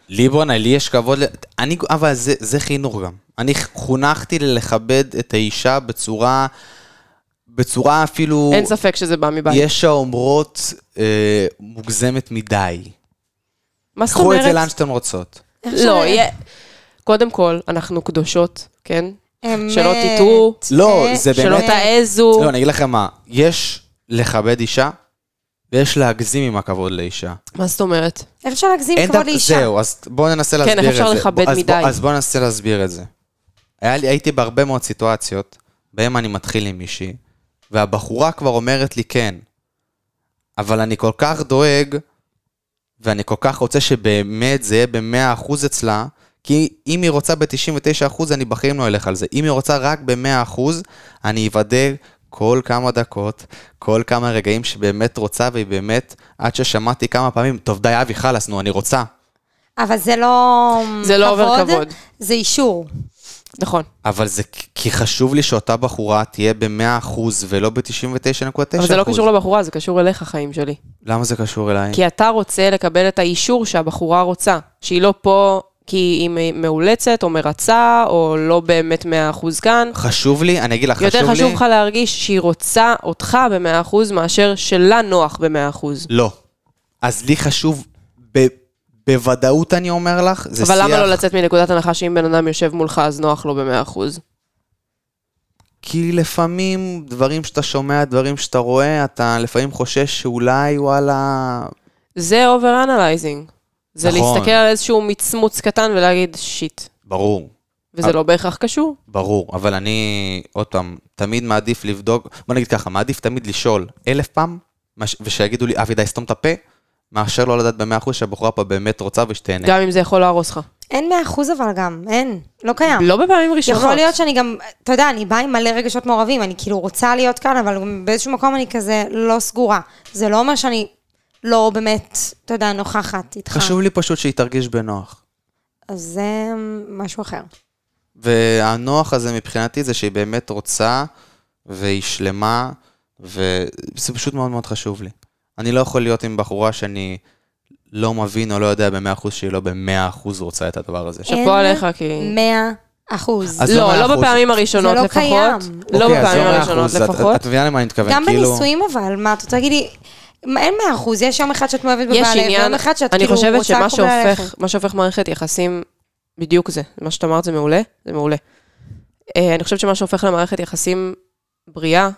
[SPEAKER 1] לי בואנה, לי יש כבוד, ל- אני, אבל זה, זה חינוך גם. אני חונכתי לכבד את האישה בצורה, בצורה אפילו,
[SPEAKER 2] אין ספק שזה בא מבית.
[SPEAKER 1] יש האומרות אה, מוגזמת מדי.
[SPEAKER 2] מה זאת
[SPEAKER 1] קחו את זה לאן
[SPEAKER 2] אומרת?
[SPEAKER 1] שאתן רוצות.
[SPEAKER 2] לא, יהיה- קודם כל, אנחנו קדושות, כן?
[SPEAKER 3] אמת.
[SPEAKER 2] שלא תטעו,
[SPEAKER 1] לא, זה
[SPEAKER 2] שלא
[SPEAKER 1] באמת-
[SPEAKER 2] תעזו.
[SPEAKER 1] לא, אני אגיד לכם מה, יש לכבד אישה, ויש להגזים עם הכבוד לאישה.
[SPEAKER 2] מה זאת אומרת?
[SPEAKER 3] איך אפשר להגזים
[SPEAKER 1] אין
[SPEAKER 3] כבוד
[SPEAKER 1] דבר-
[SPEAKER 3] לאישה?
[SPEAKER 1] זהו, אז בואו ננסה להסביר את זה.
[SPEAKER 2] כן, איך אפשר לכבד
[SPEAKER 1] בוא- אז בוא-
[SPEAKER 2] מדי?
[SPEAKER 1] אז בואו ננסה להסביר את זה. היה לי, הייתי בהרבה מאוד סיטואציות, בהן אני מתחיל עם מישהי, והבחורה כבר אומרת לי כן, אבל אני כל כך דואג, ואני כל כך רוצה שבאמת זה יהיה במאה אחוז אצלה, כי אם היא רוצה ב-99%, אני בחיים לא אלך על זה. אם היא רוצה רק ב-100%, אני אוודא כל כמה דקות, כל כמה רגעים שבאמת רוצה, והיא באמת, עד ששמעתי כמה פעמים, טוב, די, אבי, חלאס, נו, אני רוצה.
[SPEAKER 3] אבל זה לא
[SPEAKER 2] זה לא עובר כבוד.
[SPEAKER 3] זה אישור.
[SPEAKER 2] נכון.
[SPEAKER 1] אבל זה כ- כי חשוב לי שאותה בחורה תהיה ב-100% ולא ב-99.9%.
[SPEAKER 2] אבל זה לא קשור לבחורה, זה קשור אליך, חיים שלי.
[SPEAKER 1] למה זה קשור אליי?
[SPEAKER 2] כי אתה רוצה לקבל את האישור שהבחורה רוצה, שהיא לא פה כי היא מ- מאולצת או מרצה, או לא באמת 100% כאן.
[SPEAKER 1] חשוב לי, אני אגיד לך, חשוב לי...
[SPEAKER 2] יותר חשוב לך להרגיש שהיא רוצה אותך ב-100% מאשר שלה נוח ב-100%.
[SPEAKER 1] לא. אז לי חשוב, ב- בוודאות אני אומר לך, זה שיח...
[SPEAKER 2] אבל למה לא לצאת מנקודת הנחה שאם בן אדם יושב מולך אז נוח לו ב-100%?
[SPEAKER 1] כי לפעמים דברים שאתה שומע, דברים שאתה רואה, אתה לפעמים חושש שאולי, וואלה...
[SPEAKER 2] זה over-analyzing. זה
[SPEAKER 1] נכון.
[SPEAKER 2] להסתכל על איזשהו מצמוץ קטן ולהגיד, שיט.
[SPEAKER 1] ברור, אה.
[SPEAKER 2] וזה לא בהכרח קשור.
[SPEAKER 1] ברור. אבל אני, עוד פעם, תמיד מעדיף לבדוק, בוא נגיד ככה, מעדיף תמיד לשאול אלף פעם, מש- ושיגידו לי, אבי, די, סתום את הפה, מאשר לא לדעת במאה אחוז שהבחורה פה באמת רוצה ושתהנה.
[SPEAKER 2] גם אם זה יכול להרוס לך.
[SPEAKER 3] אין מאה אחוז אבל גם, אין, לא קיים.
[SPEAKER 2] לא בפעמים
[SPEAKER 1] נכון.
[SPEAKER 2] ראשונות.
[SPEAKER 3] יכול להיות שאני גם, אתה יודע, אני באה עם מלא רגשות מעורבים, אני כאילו רוצה להיות כאן, אבל גם באיזשהו מקום אני כזה לא סגורה. זה לא אומר שאני לא באמת, אתה יודע, נוכחת איתך.
[SPEAKER 1] חשוב לי פשוט שהיא תרגיש בנוח.
[SPEAKER 3] אז זה משהו אחר.
[SPEAKER 1] והנוח הזה מבחינתי זה שהיא באמת רוצה, והיא שלמה, וזה פשוט מאוד מאוד חשוב לי. אני לא יכול להיות עם בחורה שאני לא מבין או לא יודע ב-100% שהיא לא ב-100% רוצה את הדבר הזה.
[SPEAKER 2] שאפו
[SPEAKER 3] אין
[SPEAKER 2] עליך, כי-
[SPEAKER 3] מאה אחוז.
[SPEAKER 1] אז
[SPEAKER 2] לא,
[SPEAKER 1] מאה
[SPEAKER 2] לא
[SPEAKER 1] אחוז.
[SPEAKER 2] בפעמים הראשונות
[SPEAKER 3] זה לא
[SPEAKER 2] לפחות.
[SPEAKER 3] קיים.
[SPEAKER 2] לא
[SPEAKER 1] אוקיי, אז
[SPEAKER 2] בפעמים
[SPEAKER 1] לא 100%,
[SPEAKER 2] הראשונות
[SPEAKER 1] את-
[SPEAKER 2] לפחות.
[SPEAKER 1] את מבינה למה אני מתכוון,
[SPEAKER 3] גם
[SPEAKER 1] כאילו...
[SPEAKER 3] בנישואים אבל, מה, את רוצה להגיד לי, מה, אין מאה אחוז, יש יום אחד שאת מאוהבת
[SPEAKER 2] יש
[SPEAKER 3] בבעלך,
[SPEAKER 2] עניין,
[SPEAKER 3] ויום אחד שאת
[SPEAKER 2] אני
[SPEAKER 3] כאילו רוצה
[SPEAKER 2] חושבת שמה
[SPEAKER 3] קרובה אליך.
[SPEAKER 2] שהופך, מה שהופך מערכת יחסים, בדיוק זה, מה שאת אמרת זה מעולה, זה מעולה. אה, אני חושבת שמה שהופך למערכת יחסים בריאה,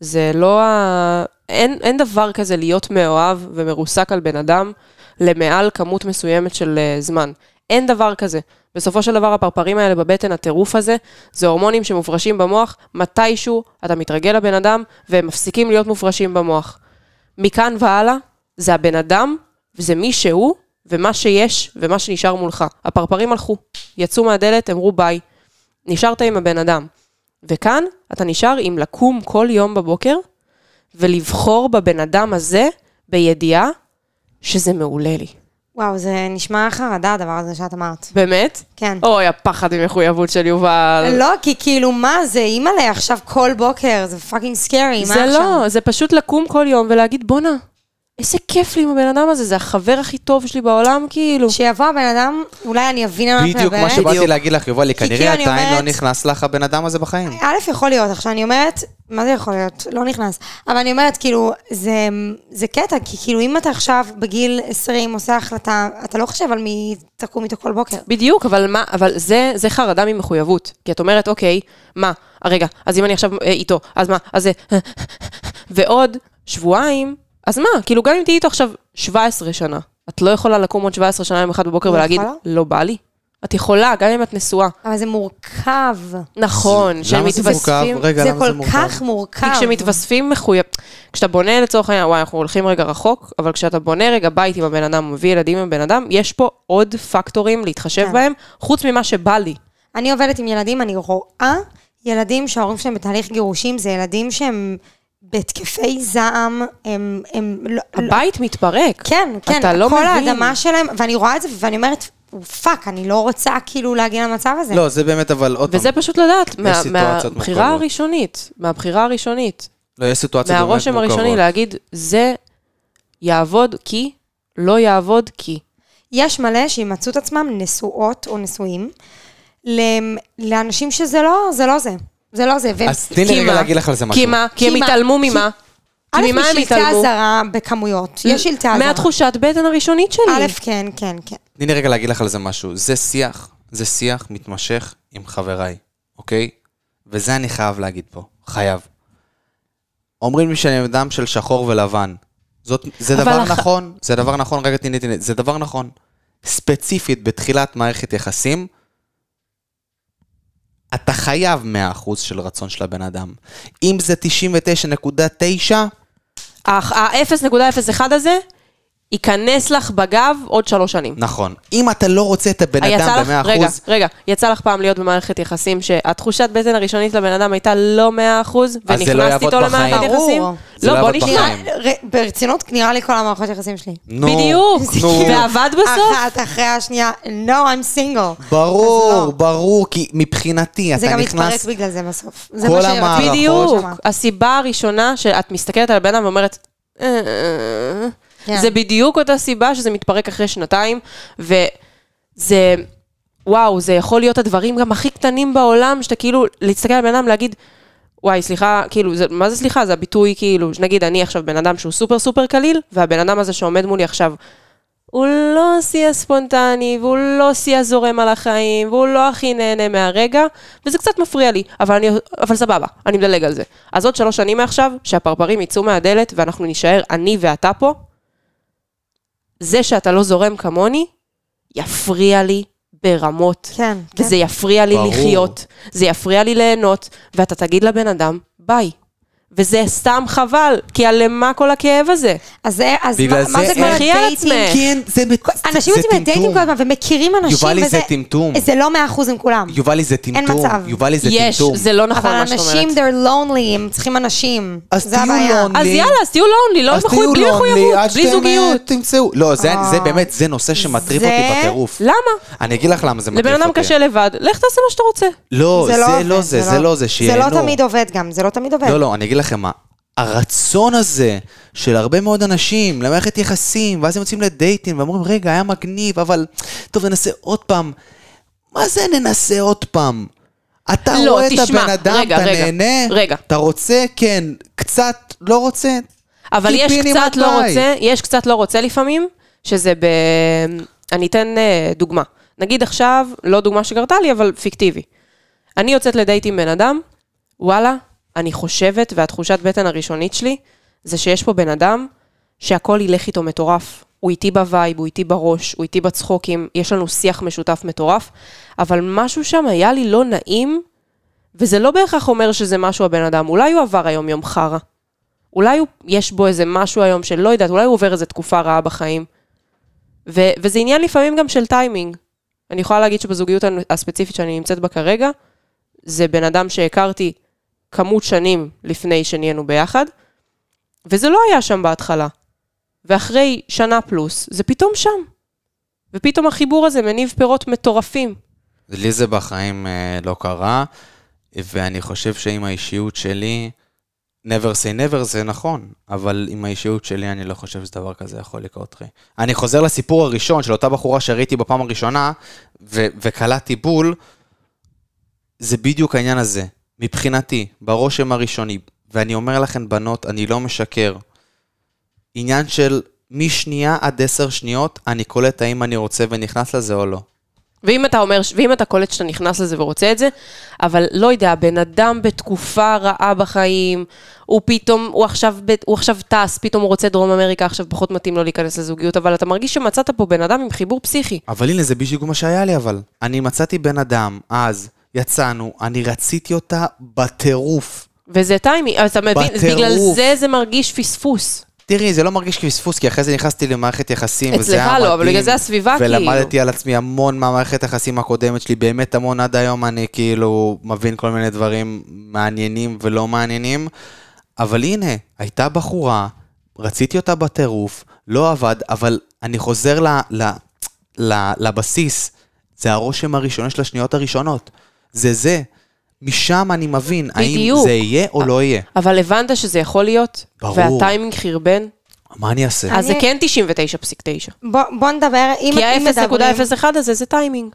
[SPEAKER 2] זה לא ה... אין, אין דבר כזה להיות מאוהב ומרוסק על בן אדם למעל כמות מסוימת של אה, זמן. אין דבר כזה. בסופו של דבר הפרפרים האלה בבטן, הטירוף הזה, זה הורמונים שמופרשים במוח, מתישהו אתה מתרגל לבן אדם והם מפסיקים להיות מופרשים במוח. מכאן והלאה, זה הבן אדם, וזה מי שהוא, ומה שיש, ומה שנשאר מולך. הפרפרים הלכו, יצאו מהדלת, אמרו ביי. נשארת עם הבן אדם. וכאן, אתה נשאר עם לקום כל יום בבוקר, ולבחור בבן אדם הזה, בידיעה שזה מעולה לי.
[SPEAKER 3] וואו, זה נשמע חרדה הדבר הזה שאת אמרת.
[SPEAKER 2] באמת?
[SPEAKER 3] כן.
[SPEAKER 2] אוי, הפחד ממחויבות של יובל.
[SPEAKER 3] לא, כי כאילו, מה זה, אימא'לה, עכשיו כל בוקר, זה פאקינג סקרי, מה
[SPEAKER 2] זה
[SPEAKER 3] עכשיו?
[SPEAKER 2] לא, זה פשוט לקום כל יום ולהגיד, בואנה, איזה כיף לי עם הבן אדם הזה, זה החבר הכי טוב שלי בעולם, כאילו.
[SPEAKER 3] שיבוא הבן אדם, אולי אני אבין
[SPEAKER 2] אה,
[SPEAKER 3] על מה את
[SPEAKER 1] בדיוק מה
[SPEAKER 3] מדברת.
[SPEAKER 1] שבאתי להגיד לך, יובלי, כנראה
[SPEAKER 3] כאילו אני
[SPEAKER 1] עדיין לא
[SPEAKER 3] אומרת-
[SPEAKER 1] נכנס לך הבן אדם הזה בחיים.
[SPEAKER 2] כן.
[SPEAKER 3] א', יכול להיות, עכשיו אני אומרת, מה זה יכול להיות? לא נכנס. אבל אני אומרת, כאילו, זה, זה קטע, כי כאילו, אם אתה עכשיו בגיל 20 עושה החלטה, אתה לא חושב על מי תקום איתו כל בוקר.
[SPEAKER 2] בדיוק, אבל מה, אבל זה, זה חרדה ממחויבות. כי את אומרת, אוקיי, מה, רגע, אז אם אני עכשיו אה, איתו, אז מה, אז זה, ועוד שבועיים, אז מה, כאילו גם אם תהיי איתו עכשיו 17 שנה, את לא יכולה לקום עוד 17 שנה יום אחד בבוקר
[SPEAKER 3] לא
[SPEAKER 2] ולהגיד,
[SPEAKER 3] יכולה?
[SPEAKER 2] לא בא לי. את יכולה, גם אם את נשואה.
[SPEAKER 3] אבל זה מורכב. כאילו,
[SPEAKER 2] נכון, שהם
[SPEAKER 1] למה זה מורכב?
[SPEAKER 2] מתווספים...
[SPEAKER 1] רגע,
[SPEAKER 3] זה
[SPEAKER 1] למה זה
[SPEAKER 3] כל
[SPEAKER 1] מורכב?
[SPEAKER 3] כך מורכב.
[SPEAKER 2] כי כשמתווספים מחויב... כשאתה בונה לצורך העניין, וואי, אנחנו הולכים רגע רחוק, אבל כשאתה בונה רגע בית עם הבן אדם, מביא ילדים עם הבן אדם, יש פה עוד פקטורים להתחשב
[SPEAKER 3] כן.
[SPEAKER 2] בהם, חוץ ממה שבא לי.
[SPEAKER 3] אני עובדת עם ילדים, אני רואה ילדים שההורים שלהם בתהליך גירושים, זה ילדים שהם בהתקפי זעם, הם... הם לא, לא,
[SPEAKER 2] הבית מתפרק.
[SPEAKER 3] כן, כן,
[SPEAKER 2] אתה לא
[SPEAKER 3] כל
[SPEAKER 2] מבין.
[SPEAKER 3] האדמה שלהם, ואני רואה את זה ואני אומרת, פאק, אני לא רוצה כאילו להגיע למצב הזה.
[SPEAKER 1] לא, זה באמת, אבל עוד פעם,
[SPEAKER 2] וזה פשוט לדעת, מה-
[SPEAKER 1] סיטואציות
[SPEAKER 2] מהבחירה
[SPEAKER 1] מורכבות.
[SPEAKER 2] הראשונית, מהבחירה הראשונית,
[SPEAKER 1] לא, יש סיטואציות באמת מורכבות.
[SPEAKER 2] מהרושם הראשוני, להגיד, זה יעבוד כי, לא יעבוד כי.
[SPEAKER 3] יש מלא שימצאו את עצמם נשואות או נשואים למ- לאנשים שזה לא זה. לא זה, זה לא זה. והם-
[SPEAKER 1] אז תני
[SPEAKER 2] כי
[SPEAKER 1] לי רגע
[SPEAKER 2] מה?
[SPEAKER 1] להגיד לך על זה משהו.
[SPEAKER 2] כי מה? כי הם
[SPEAKER 3] כי מה?
[SPEAKER 2] התעלמו
[SPEAKER 3] כי-
[SPEAKER 2] ממה?
[SPEAKER 3] א',
[SPEAKER 2] כי ממה
[SPEAKER 3] יש
[SPEAKER 2] הם
[SPEAKER 3] שלטי
[SPEAKER 2] התעלמו?
[SPEAKER 3] אזהרה בכמויות, יש שלטי אזהרה.
[SPEAKER 2] מהתחושת בטן הראשונית
[SPEAKER 3] א',
[SPEAKER 2] שלי.
[SPEAKER 3] כן, כן, כן.
[SPEAKER 1] תני לי רגע להגיד לך על זה משהו. זה שיח, זה שיח מתמשך עם חבריי, אוקיי? וזה אני חייב להגיד פה, חייב. אומרים לי שאני אדם של שחור ולבן. זאת, זה
[SPEAKER 2] אבל
[SPEAKER 1] דבר
[SPEAKER 2] הח-
[SPEAKER 1] נכון, זה דבר נכון, רגע תני לי, תני לי, זה דבר נכון. ספציפית, בתחילת מערכת יחסים, אתה חייב 100% של רצון של הבן אדם. אם זה 99.9,
[SPEAKER 2] ה-0.01 הזה, ייכנס לך בגב עוד שלוש שנים.
[SPEAKER 1] נכון. אם אתה לא רוצה את הבן
[SPEAKER 2] יצא
[SPEAKER 1] אדם
[SPEAKER 2] לך,
[SPEAKER 1] ב-100%,
[SPEAKER 2] רגע, רגע, יצא לך פעם להיות במערכת יחסים שהתחושת בטן הראשונית לבן אדם הייתה לא
[SPEAKER 1] אז
[SPEAKER 2] 100%
[SPEAKER 1] זה לא
[SPEAKER 2] ונכנסת
[SPEAKER 1] יעבוד
[SPEAKER 2] איתו למערכת
[SPEAKER 1] בחיים.
[SPEAKER 2] יחסים?
[SPEAKER 3] ברור.
[SPEAKER 1] זה לא
[SPEAKER 2] לא, בוא
[SPEAKER 1] יעבוד
[SPEAKER 2] נשמע.
[SPEAKER 1] בחיים.
[SPEAKER 3] ר- ברצינות, נראה לי כל המערכות יחסים שלי.
[SPEAKER 1] נו,
[SPEAKER 2] בדיוק.
[SPEAKER 1] נו.
[SPEAKER 2] ועבד בסוף?
[SPEAKER 3] אחת אחרי השנייה, no, I'm single. אז
[SPEAKER 1] ברור,
[SPEAKER 3] לא.
[SPEAKER 1] ברור, כי מבחינתי
[SPEAKER 3] זה
[SPEAKER 1] אתה
[SPEAKER 3] גם
[SPEAKER 1] נכנס...
[SPEAKER 3] מתפרק בגלל זה בסוף. זה
[SPEAKER 1] כל
[SPEAKER 3] מה שרציתי
[SPEAKER 1] המערכות.
[SPEAKER 2] בדיוק.
[SPEAKER 3] שמה.
[SPEAKER 2] הסיבה הראשונה שאת מסתכלת על הבן אדם ואומרת, "אה, אה, אה."
[SPEAKER 3] כן.
[SPEAKER 2] זה בדיוק אותה סיבה שזה מתפרק אחרי שנתיים, וזה, וואו, זה יכול להיות הדברים גם הכי קטנים בעולם, שאתה כאילו, להסתכל על בן אדם, להגיד, וואי, סליחה, כאילו, זה, מה זה סליחה? זה הביטוי, כאילו, נגיד, אני עכשיו בן אדם שהוא סופר סופר קליל, והבן אדם הזה שעומד מולי עכשיו, הוא לא השיא הספונטני, והוא לא השיא הזורם על החיים, והוא לא הכי נהנה מהרגע, וזה קצת מפריע לי, אבל, אני, אבל סבבה, אני מדלג על זה. אז עוד שלוש שנים מעכשיו, שהפרפרים יצאו מהדלת ואנחנו נישאר אני ואתה פה, זה שאתה לא זורם כמוני, יפריע לי ברמות.
[SPEAKER 3] כן, כן.
[SPEAKER 2] וזה יפריע לי
[SPEAKER 1] ברור.
[SPEAKER 2] לחיות, זה יפריע לי ליהנות, ואתה תגיד לבן אדם, ביי. וזה סתם חבל, כי על למה כל הכאב הזה?
[SPEAKER 3] אז זה, אז
[SPEAKER 1] בגלל
[SPEAKER 3] מה מה
[SPEAKER 1] זה
[SPEAKER 3] זה כבר
[SPEAKER 2] תלכי על
[SPEAKER 3] הדייטינג?
[SPEAKER 2] עצמך.
[SPEAKER 1] כן, זה מת-
[SPEAKER 3] אנשים
[SPEAKER 1] זה
[SPEAKER 3] יוצאים לדייטינג
[SPEAKER 1] טמטום.
[SPEAKER 3] כל הזמן ומכירים אנשים,
[SPEAKER 1] יובלי,
[SPEAKER 3] וזה-
[SPEAKER 1] זה טמטום.
[SPEAKER 3] זה לא מאה אחוז עם כולם.
[SPEAKER 1] יובלי זה טמטום.
[SPEAKER 3] מצב.
[SPEAKER 1] יובלי זה
[SPEAKER 2] יש,
[SPEAKER 1] טמטום.
[SPEAKER 2] זה לא נכון
[SPEAKER 3] אבל
[SPEAKER 2] מה שאת אומרת.
[SPEAKER 3] אנשים, they're lonely, הם צריכים אנשים.
[SPEAKER 1] אז
[SPEAKER 3] זה
[SPEAKER 1] תהיו לא-
[SPEAKER 3] הבעיה.
[SPEAKER 1] lonely.
[SPEAKER 2] אז
[SPEAKER 1] לי.
[SPEAKER 2] יאללה, אז תהיו לונלי, לא
[SPEAKER 1] אז
[SPEAKER 2] מחו-
[SPEAKER 1] תהיו
[SPEAKER 2] בלי
[SPEAKER 1] lonely, עד
[SPEAKER 2] מחויבות,
[SPEAKER 1] שאתם,
[SPEAKER 2] בלי
[SPEAKER 1] אה,
[SPEAKER 2] זוגיות.
[SPEAKER 1] תמצאו. לא, זה- זה
[SPEAKER 3] אה.
[SPEAKER 1] באמת, זה נושא שמטריף
[SPEAKER 3] זה- לא.
[SPEAKER 1] אותי בטירוף.
[SPEAKER 2] למה?
[SPEAKER 1] אני אגיד לך למה זה מטריף
[SPEAKER 2] לבן
[SPEAKER 1] אותי.
[SPEAKER 2] אדם קשה לבד, לך תעשה מה שאתה רוצה.
[SPEAKER 1] לא, זה
[SPEAKER 3] עובד,
[SPEAKER 1] לא זה, זה לא זה,
[SPEAKER 3] זה
[SPEAKER 1] שיהנו.
[SPEAKER 3] לא תמיד עובד גם, זה לא תמיד עובד.
[SPEAKER 1] לא, לא, אני אגיד לכם מה. הרצון הזה של הרבה מאוד אנשים למערכת יחסים, ואז הם יוצאים לדייטים ואומרים, רגע, היה מגניב, אבל טוב, ננסה עוד פעם. מה זה ננסה עוד פעם? אתה
[SPEAKER 2] לא,
[SPEAKER 1] רואה את
[SPEAKER 2] תשמע,
[SPEAKER 1] הבן אדם,
[SPEAKER 2] רגע,
[SPEAKER 1] אתה
[SPEAKER 2] רגע,
[SPEAKER 1] נהנה,
[SPEAKER 2] רגע.
[SPEAKER 1] אתה רוצה, כן, קצת, לא רוצה.
[SPEAKER 2] אבל יש
[SPEAKER 1] קיבינימט
[SPEAKER 2] קצת לא
[SPEAKER 1] ביי.
[SPEAKER 2] רוצה, יש קצת לא רוצה לפעמים, שזה ב... אני אתן אה, דוגמה. נגיד עכשיו, לא דוגמה שקרתה לי, אבל פיקטיבי. אני יוצאת לדייט עם בן אדם, וואלה, אני חושבת, והתחושת בטן הראשונית שלי, זה שיש פה בן אדם שהכל ילך איתו מטורף. הוא איתי בווייב, הוא איתי בראש, הוא איתי בצחוקים, יש לנו שיח משותף מטורף, אבל משהו שם היה לי לא נעים, וזה לא בהכרח אומר שזה משהו הבן אדם, אולי הוא עבר היום יום חרא. אולי הוא, יש בו איזה משהו היום של לא יודעת, אולי הוא עובר איזה תקופה רעה בחיים. ו, וזה עניין לפעמים גם של טיימינג. אני יכולה להגיד שבזוגיות הנ- הספציפית שאני נמצאת בה כרגע, זה בן אדם שהכרתי כמות שנים לפני שנהיינו ביחד, וזה לא היה שם בהתחלה. ואחרי שנה פלוס, זה פתאום שם. ופתאום החיבור הזה מניב פירות מטורפים.
[SPEAKER 1] לי זה בחיים אה, לא קרה, ואני חושב שעם האישיות שלי, never say never זה נכון, אבל עם האישיות שלי אני לא חושב שדבר כזה יכול לקרות לי. אני חוזר לסיפור הראשון של אותה בחורה שראיתי בפעם הראשונה, ו- וקלעתי בול, זה בדיוק העניין הזה, מבחינתי, ברושם הראשוני, ואני אומר לכן, בנות, אני לא משקר. עניין של משנייה עד עשר שניות, אני קולט האם אני רוצה ונכנס לזה או לא.
[SPEAKER 2] ואם אתה אומר, ש- ואם אתה קולט שאתה נכנס לזה ורוצה את זה, אבל לא יודע, הבן אדם בתקופה רעה בחיים, הוא פתאום, הוא עכשיו, ב- הוא עכשיו טס, פתאום הוא רוצה דרום אמריקה, עכשיו פחות מתאים לו להיכנס לזוגיות, אבל אתה מרגיש שמצאת פה בן אדם עם חיבור פסיכי.
[SPEAKER 1] אבל הנה, זה בדיוק מה שהיה לי, אבל. אני מצאתי בן אדם, אז, יצאנו, אני רציתי אותה בטירוף.
[SPEAKER 2] וזה טיימי, אז אתה מבין,
[SPEAKER 1] בטירוף.
[SPEAKER 2] בגלל זה זה מרגיש פספוס.
[SPEAKER 1] תראי, זה לא מרגיש כפספוס, כי אחרי זה נכנסתי למערכת יחסים,
[SPEAKER 2] אצלך
[SPEAKER 1] וזה היה
[SPEAKER 2] לא,
[SPEAKER 1] מדהים.
[SPEAKER 2] אבל בגלל זה הסביבה,
[SPEAKER 1] ולמדתי
[SPEAKER 2] כאילו.
[SPEAKER 1] על עצמי המון מהמערכת היחסים הקודמת שלי, באמת המון, עד היום אני כאילו מבין כל מיני דברים מעניינים ולא מעניינים. אבל הנה, הייתה בחורה, רציתי אותה בטירוף, לא עבד, אבל אני חוזר ל, ל, ל, לבסיס, זה הרושם הראשון של השניות הראשונות. זה זה. משם אני מבין, האם
[SPEAKER 2] בדיוק. אה,
[SPEAKER 1] זה יהיה או לא יהיה.
[SPEAKER 2] אבל הבנת שזה יכול להיות,
[SPEAKER 1] ברור.
[SPEAKER 2] והטיימינג חרבן,
[SPEAKER 1] מה אני אעשה?
[SPEAKER 2] אז זה
[SPEAKER 3] אני-
[SPEAKER 2] כן 99.9.
[SPEAKER 3] בוא בוא נדבר, אם
[SPEAKER 2] כי
[SPEAKER 3] אם מדברים...
[SPEAKER 2] ה-0.01 הזה זה טיימינג.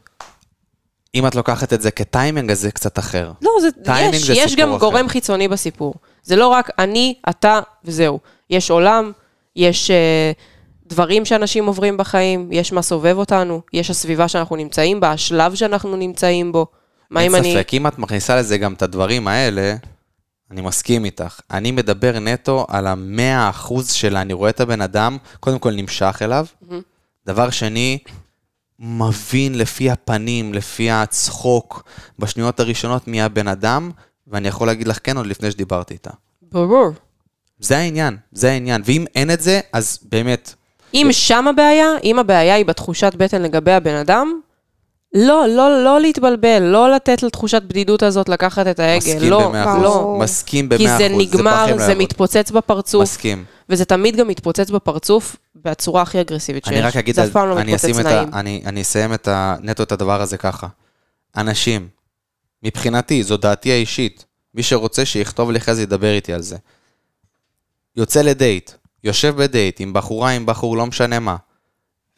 [SPEAKER 1] אם את לוקחת את זה כטיימינג, אז זה קצת אחר.
[SPEAKER 2] לא, זה,
[SPEAKER 1] טיימינג
[SPEAKER 2] יש,
[SPEAKER 1] זה
[SPEAKER 2] יש
[SPEAKER 1] סיפור
[SPEAKER 2] גם
[SPEAKER 1] אחר.
[SPEAKER 2] גורם חיצוני בסיפור. זה לא רק אני, אתה וזהו. יש עולם, יש אה, דברים שאנשים עוברים בחיים, יש מה סובב אותנו, יש הסביבה שאנחנו נמצאים בה, השלב שאנחנו נמצאים בו. מה אם
[SPEAKER 1] אין
[SPEAKER 2] אני...
[SPEAKER 1] ספק, אם את מכניסה לזה גם את הדברים האלה, אני מסכים איתך. אני מדבר נטו על המאה אחוז שלה, אני רואה את הבן אדם, קודם כל נמשך אליו, דבר שני, מבין לפי הפנים, לפי הצחוק, בשניות הראשונות מי הבן אדם, ואני יכול להגיד לך כן עוד לפני שדיברתי איתה.
[SPEAKER 2] ברור.
[SPEAKER 1] זה העניין, זה העניין. ואם אין את זה, אז באמת,
[SPEAKER 2] אם שם הבעיה, אם הבעיה היא בתחושת בטן לגבי הבן אדם, לא, לא, לא להתבלבל, לא לתת לתחושת בדידות הזאת לקחת את ההגה,
[SPEAKER 1] מסכים
[SPEAKER 2] לא,
[SPEAKER 1] במאה אחוז.
[SPEAKER 2] לא.
[SPEAKER 3] ברור.
[SPEAKER 1] מסכים במאה
[SPEAKER 2] כי
[SPEAKER 1] אחוז.
[SPEAKER 2] זה נגמר,
[SPEAKER 1] פחד
[SPEAKER 2] זה,
[SPEAKER 1] לעבוד.
[SPEAKER 2] מתפוצץ בפרצוף,
[SPEAKER 1] מסכים.
[SPEAKER 2] וזה תמיד גם מתפוצץ בפרצוף בצורה הכי אגרסיבית שיש.
[SPEAKER 1] אני רק אגיד,
[SPEAKER 2] זה אף פעם לא
[SPEAKER 1] אני,
[SPEAKER 2] מתפוצץ
[SPEAKER 1] אשים את
[SPEAKER 2] נעים.
[SPEAKER 1] ה, אני, אני אסיים את ה, נטו את הדבר הזה ככה. אנשים, מבחינתי, זו דעתי האישית. מי שרוצה שיכתוב לי אחרי זה ידבר איתי על זה. יוצא לדייט, יושב בדייט עם בחורה, עם בחור, לא משנה מה.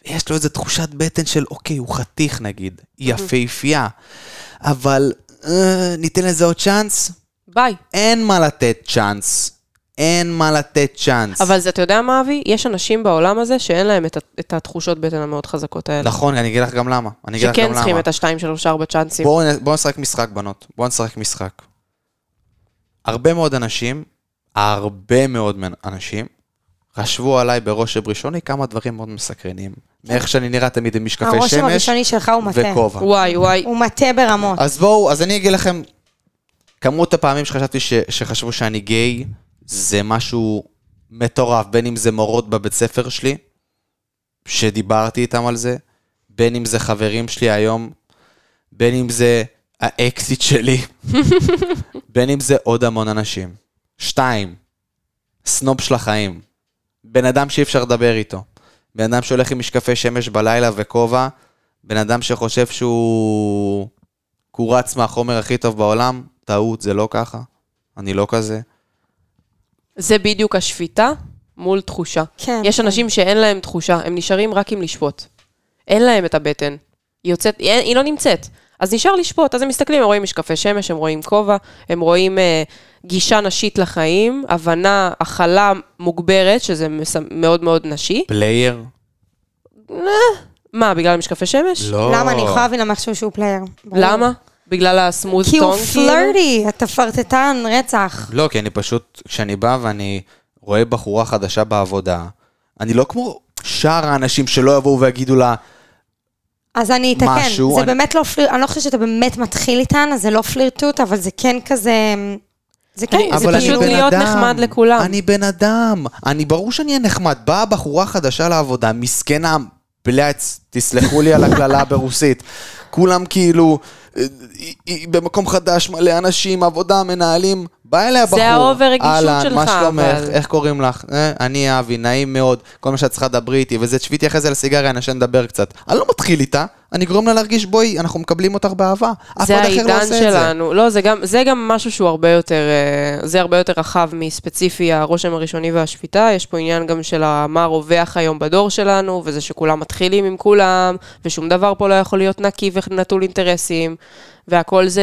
[SPEAKER 1] יש לו איזו תחושת בטן של אוקיי, הוא חתיך נגיד, היא יפהפייה, אבל אה, ניתן לזה עוד צ'אנס?
[SPEAKER 2] ביי.
[SPEAKER 1] אין מה לתת צ'אנס. אין מה לתת צ'אנס.
[SPEAKER 2] אבל זה, אתה יודע מה, אבי? יש אנשים בעולם הזה שאין להם את, ה- את התחושות בטן המאוד חזקות האלה.
[SPEAKER 1] נכון, אני אגיד לך גם למה. אני אגיד לך גם למה.
[SPEAKER 2] שכן צריכים את השתיים, שלוש, ארבע צ'אנסים.
[SPEAKER 1] בואו נ- בואו נשחק משחק, בנות. בואו נשחק משחק. הרבה מאוד אנשים, הרבה מאוד מנ- אנשים, חשבו עליי ברושם ראשוני כמה דברים מאוד מסקרנים. מאיך שאני נראה תמיד עם משקפי
[SPEAKER 3] הרושם
[SPEAKER 1] שמש
[SPEAKER 3] הראשוני שלך כן. הוא מטה.
[SPEAKER 1] וכובע.
[SPEAKER 2] וואי, וואי.
[SPEAKER 3] הוא מטה ברמות.
[SPEAKER 1] אז בואו, אז אני אגיד לכם, כמות הפעמים שחשבתי ש, שחשבו שאני גיי, זה משהו מטורף, בין אם זה מורות בבית ספר שלי, שדיברתי איתם על זה, בין אם זה חברים שלי היום, בין אם זה האקסיט שלי, בין אם זה עוד המון אנשים. שתיים, סנוב של החיים. בן אדם שאי אפשר לדבר איתו. בן אדם שהולך עם משקפי שמש בלילה וכובע. בן אדם שחושב שהוא... הוא רץ מהחומר הכי טוב בעולם, טעות, זה לא ככה. אני לא כזה.
[SPEAKER 2] זה בדיוק השפיטה מול תחושה.
[SPEAKER 3] כן.
[SPEAKER 2] יש אנשים שאין להם תחושה, הם נשארים רק עם לשפוט. אין להם את הבטן. היא יוצאת, היא, היא לא נמצאת. אז נשאר לשפוט, אז הם מסתכלים, הם רואים משקפי שמש, הם רואים כובע, הם רואים אה, גישה נשית לחיים, הבנה, הכלה מוגברת, שזה מס, מאוד מאוד נשי.
[SPEAKER 1] פלייר?
[SPEAKER 2] מה, בגלל משקפי שמש?
[SPEAKER 1] לא.
[SPEAKER 3] למה? אני יכולה להבין למה משהו שהוא פלייר. ברור.
[SPEAKER 2] למה? בגלל הסמוז
[SPEAKER 3] כי הוא
[SPEAKER 2] טון? כאילו?
[SPEAKER 3] פלרטי, אתה פרטטן, רצח.
[SPEAKER 1] לא, כי אני פשוט, כשאני בא ואני רואה בחורה חדשה בעבודה, אני לא כמו שאר האנשים שלא יבואו ויגידו לה,
[SPEAKER 3] אז אני אתקן.
[SPEAKER 1] משהו,
[SPEAKER 3] זה
[SPEAKER 1] אני-
[SPEAKER 3] באמת לא פליר... אני לא חושבת שאתה באמת מתחיל איתן, אז זה לא פלירטוט, אבל זה כן כזה... זה כן,
[SPEAKER 2] אני-
[SPEAKER 3] זה
[SPEAKER 1] אבל אני
[SPEAKER 2] פשוט
[SPEAKER 1] בן
[SPEAKER 2] להיות
[SPEAKER 1] אדם,
[SPEAKER 2] נחמד לכולם.
[SPEAKER 1] אני בן אדם. אני, ברור שאני אהיה נחמד. באה בחורה חדשה לעבודה, מסכנה, בלץ, תסלחו לי על הקללה ברוסית. כולם כאילו, אה, היא- היא במקום חדש, מלא אנשים, עבודה, מנהלים. בא אליה בחור.
[SPEAKER 2] האובר רגישות
[SPEAKER 1] אהלן, מה
[SPEAKER 2] שלך,
[SPEAKER 1] שלומך?
[SPEAKER 2] אבל-
[SPEAKER 1] איך קוראים לך? אה, אני אבי, נעים מאוד. כל מה שאת צריכה לדברי איתי, וזה, תשבי איתי אחרי זה לסיגריה, נשן לדבר קצת. אני לא מתחיל איתה, אני גורם לה להרגיש, בואי, אנחנו מקבלים אותך באהבה. אף
[SPEAKER 2] זה
[SPEAKER 1] אחד אחר לא
[SPEAKER 2] העידן
[SPEAKER 1] עושה את זה.
[SPEAKER 2] שלנו. לא, זה גם, זה גם משהו שהוא הרבה יותר, אה, זה הרבה יותר רחב מספציפי הרושם הראשוני והשפיטה. יש פה עניין גם של ה- מה רווח היום בדור שלנו, וזה שכולם מתחילים עם כולם, ושום דבר פה לא יכול להיות נקי ונטול אינטרסים, והכל זה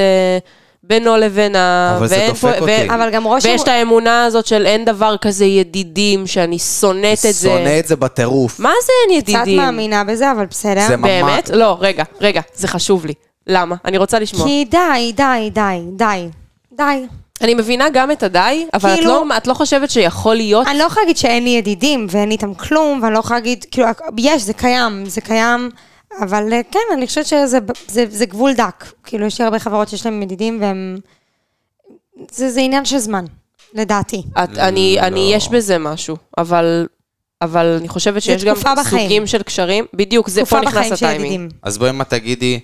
[SPEAKER 2] בינו לבינה.
[SPEAKER 1] אבל זה
[SPEAKER 2] ואין
[SPEAKER 1] דופק
[SPEAKER 2] פה- ואין-
[SPEAKER 1] אותי.
[SPEAKER 3] אבל גם רושם...
[SPEAKER 2] ויש את האמונה הזאת של אין דבר כזה ידידים, שאני שונאת את זה.
[SPEAKER 1] שונא את זה בטירוף.
[SPEAKER 2] מה זה אין
[SPEAKER 3] קצת
[SPEAKER 2] ידידים?
[SPEAKER 3] מאמינה בזה, אבל בסדר.
[SPEAKER 1] זה ממש-
[SPEAKER 2] באמת? לא, רגע, רגע, זה חשוב לי. למה? אני רוצה לשמוע.
[SPEAKER 3] כי די, די, די, די. די.
[SPEAKER 2] אני מבינה גם את הדי, אבל את
[SPEAKER 3] כאילו-
[SPEAKER 2] לא, את לא חושבת שיכול להיות...
[SPEAKER 3] אני לא יכולה להגיד שאין לי ידידים ואין לי איתם כלום, ואני לא יכולה להגיד, כאילו, יש, זה קיים, זה קיים, אבל אה, כן, אני חושבת שזה זה, זה גבול דק. כאילו, יש לי הרבה חברות שיש להן ידידים, והם... זה, זה עניין של זמן, לדעתי.
[SPEAKER 2] את, אני, אני, יש בזה משהו, אבל, אבל אני חושבת שיש גם
[SPEAKER 3] תקופה בחיים.
[SPEAKER 2] סוגים של קשרים. בדיוק, זה, פה
[SPEAKER 3] תקופה
[SPEAKER 2] נכנס
[SPEAKER 3] בחיים של
[SPEAKER 2] הטיימינג.
[SPEAKER 3] ידידים.
[SPEAKER 1] אז בואי מה תגידי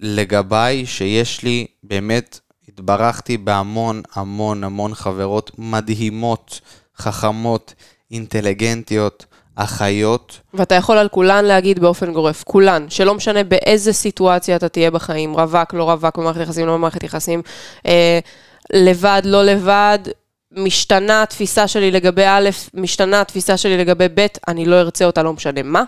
[SPEAKER 1] לגביי, שיש לי באמת, התברכתי בהמון המון המון חברות מדהימות, חכמות, אינטליגנטיות, אחיות.
[SPEAKER 2] ואתה יכול על כולן להגיד באופן גורף, כולן, שלא משנה באיזה סיטואציה אתה תהיה בחיים, רווק, לא רווק, במערכת יחסים, לא במערכת יחסים, אה, לבד, לא לבד, משתנה התפיסה שלי לגבי א', משתנה התפיסה שלי לגבי ב', אני לא ארצה אותה, לא משנה מה.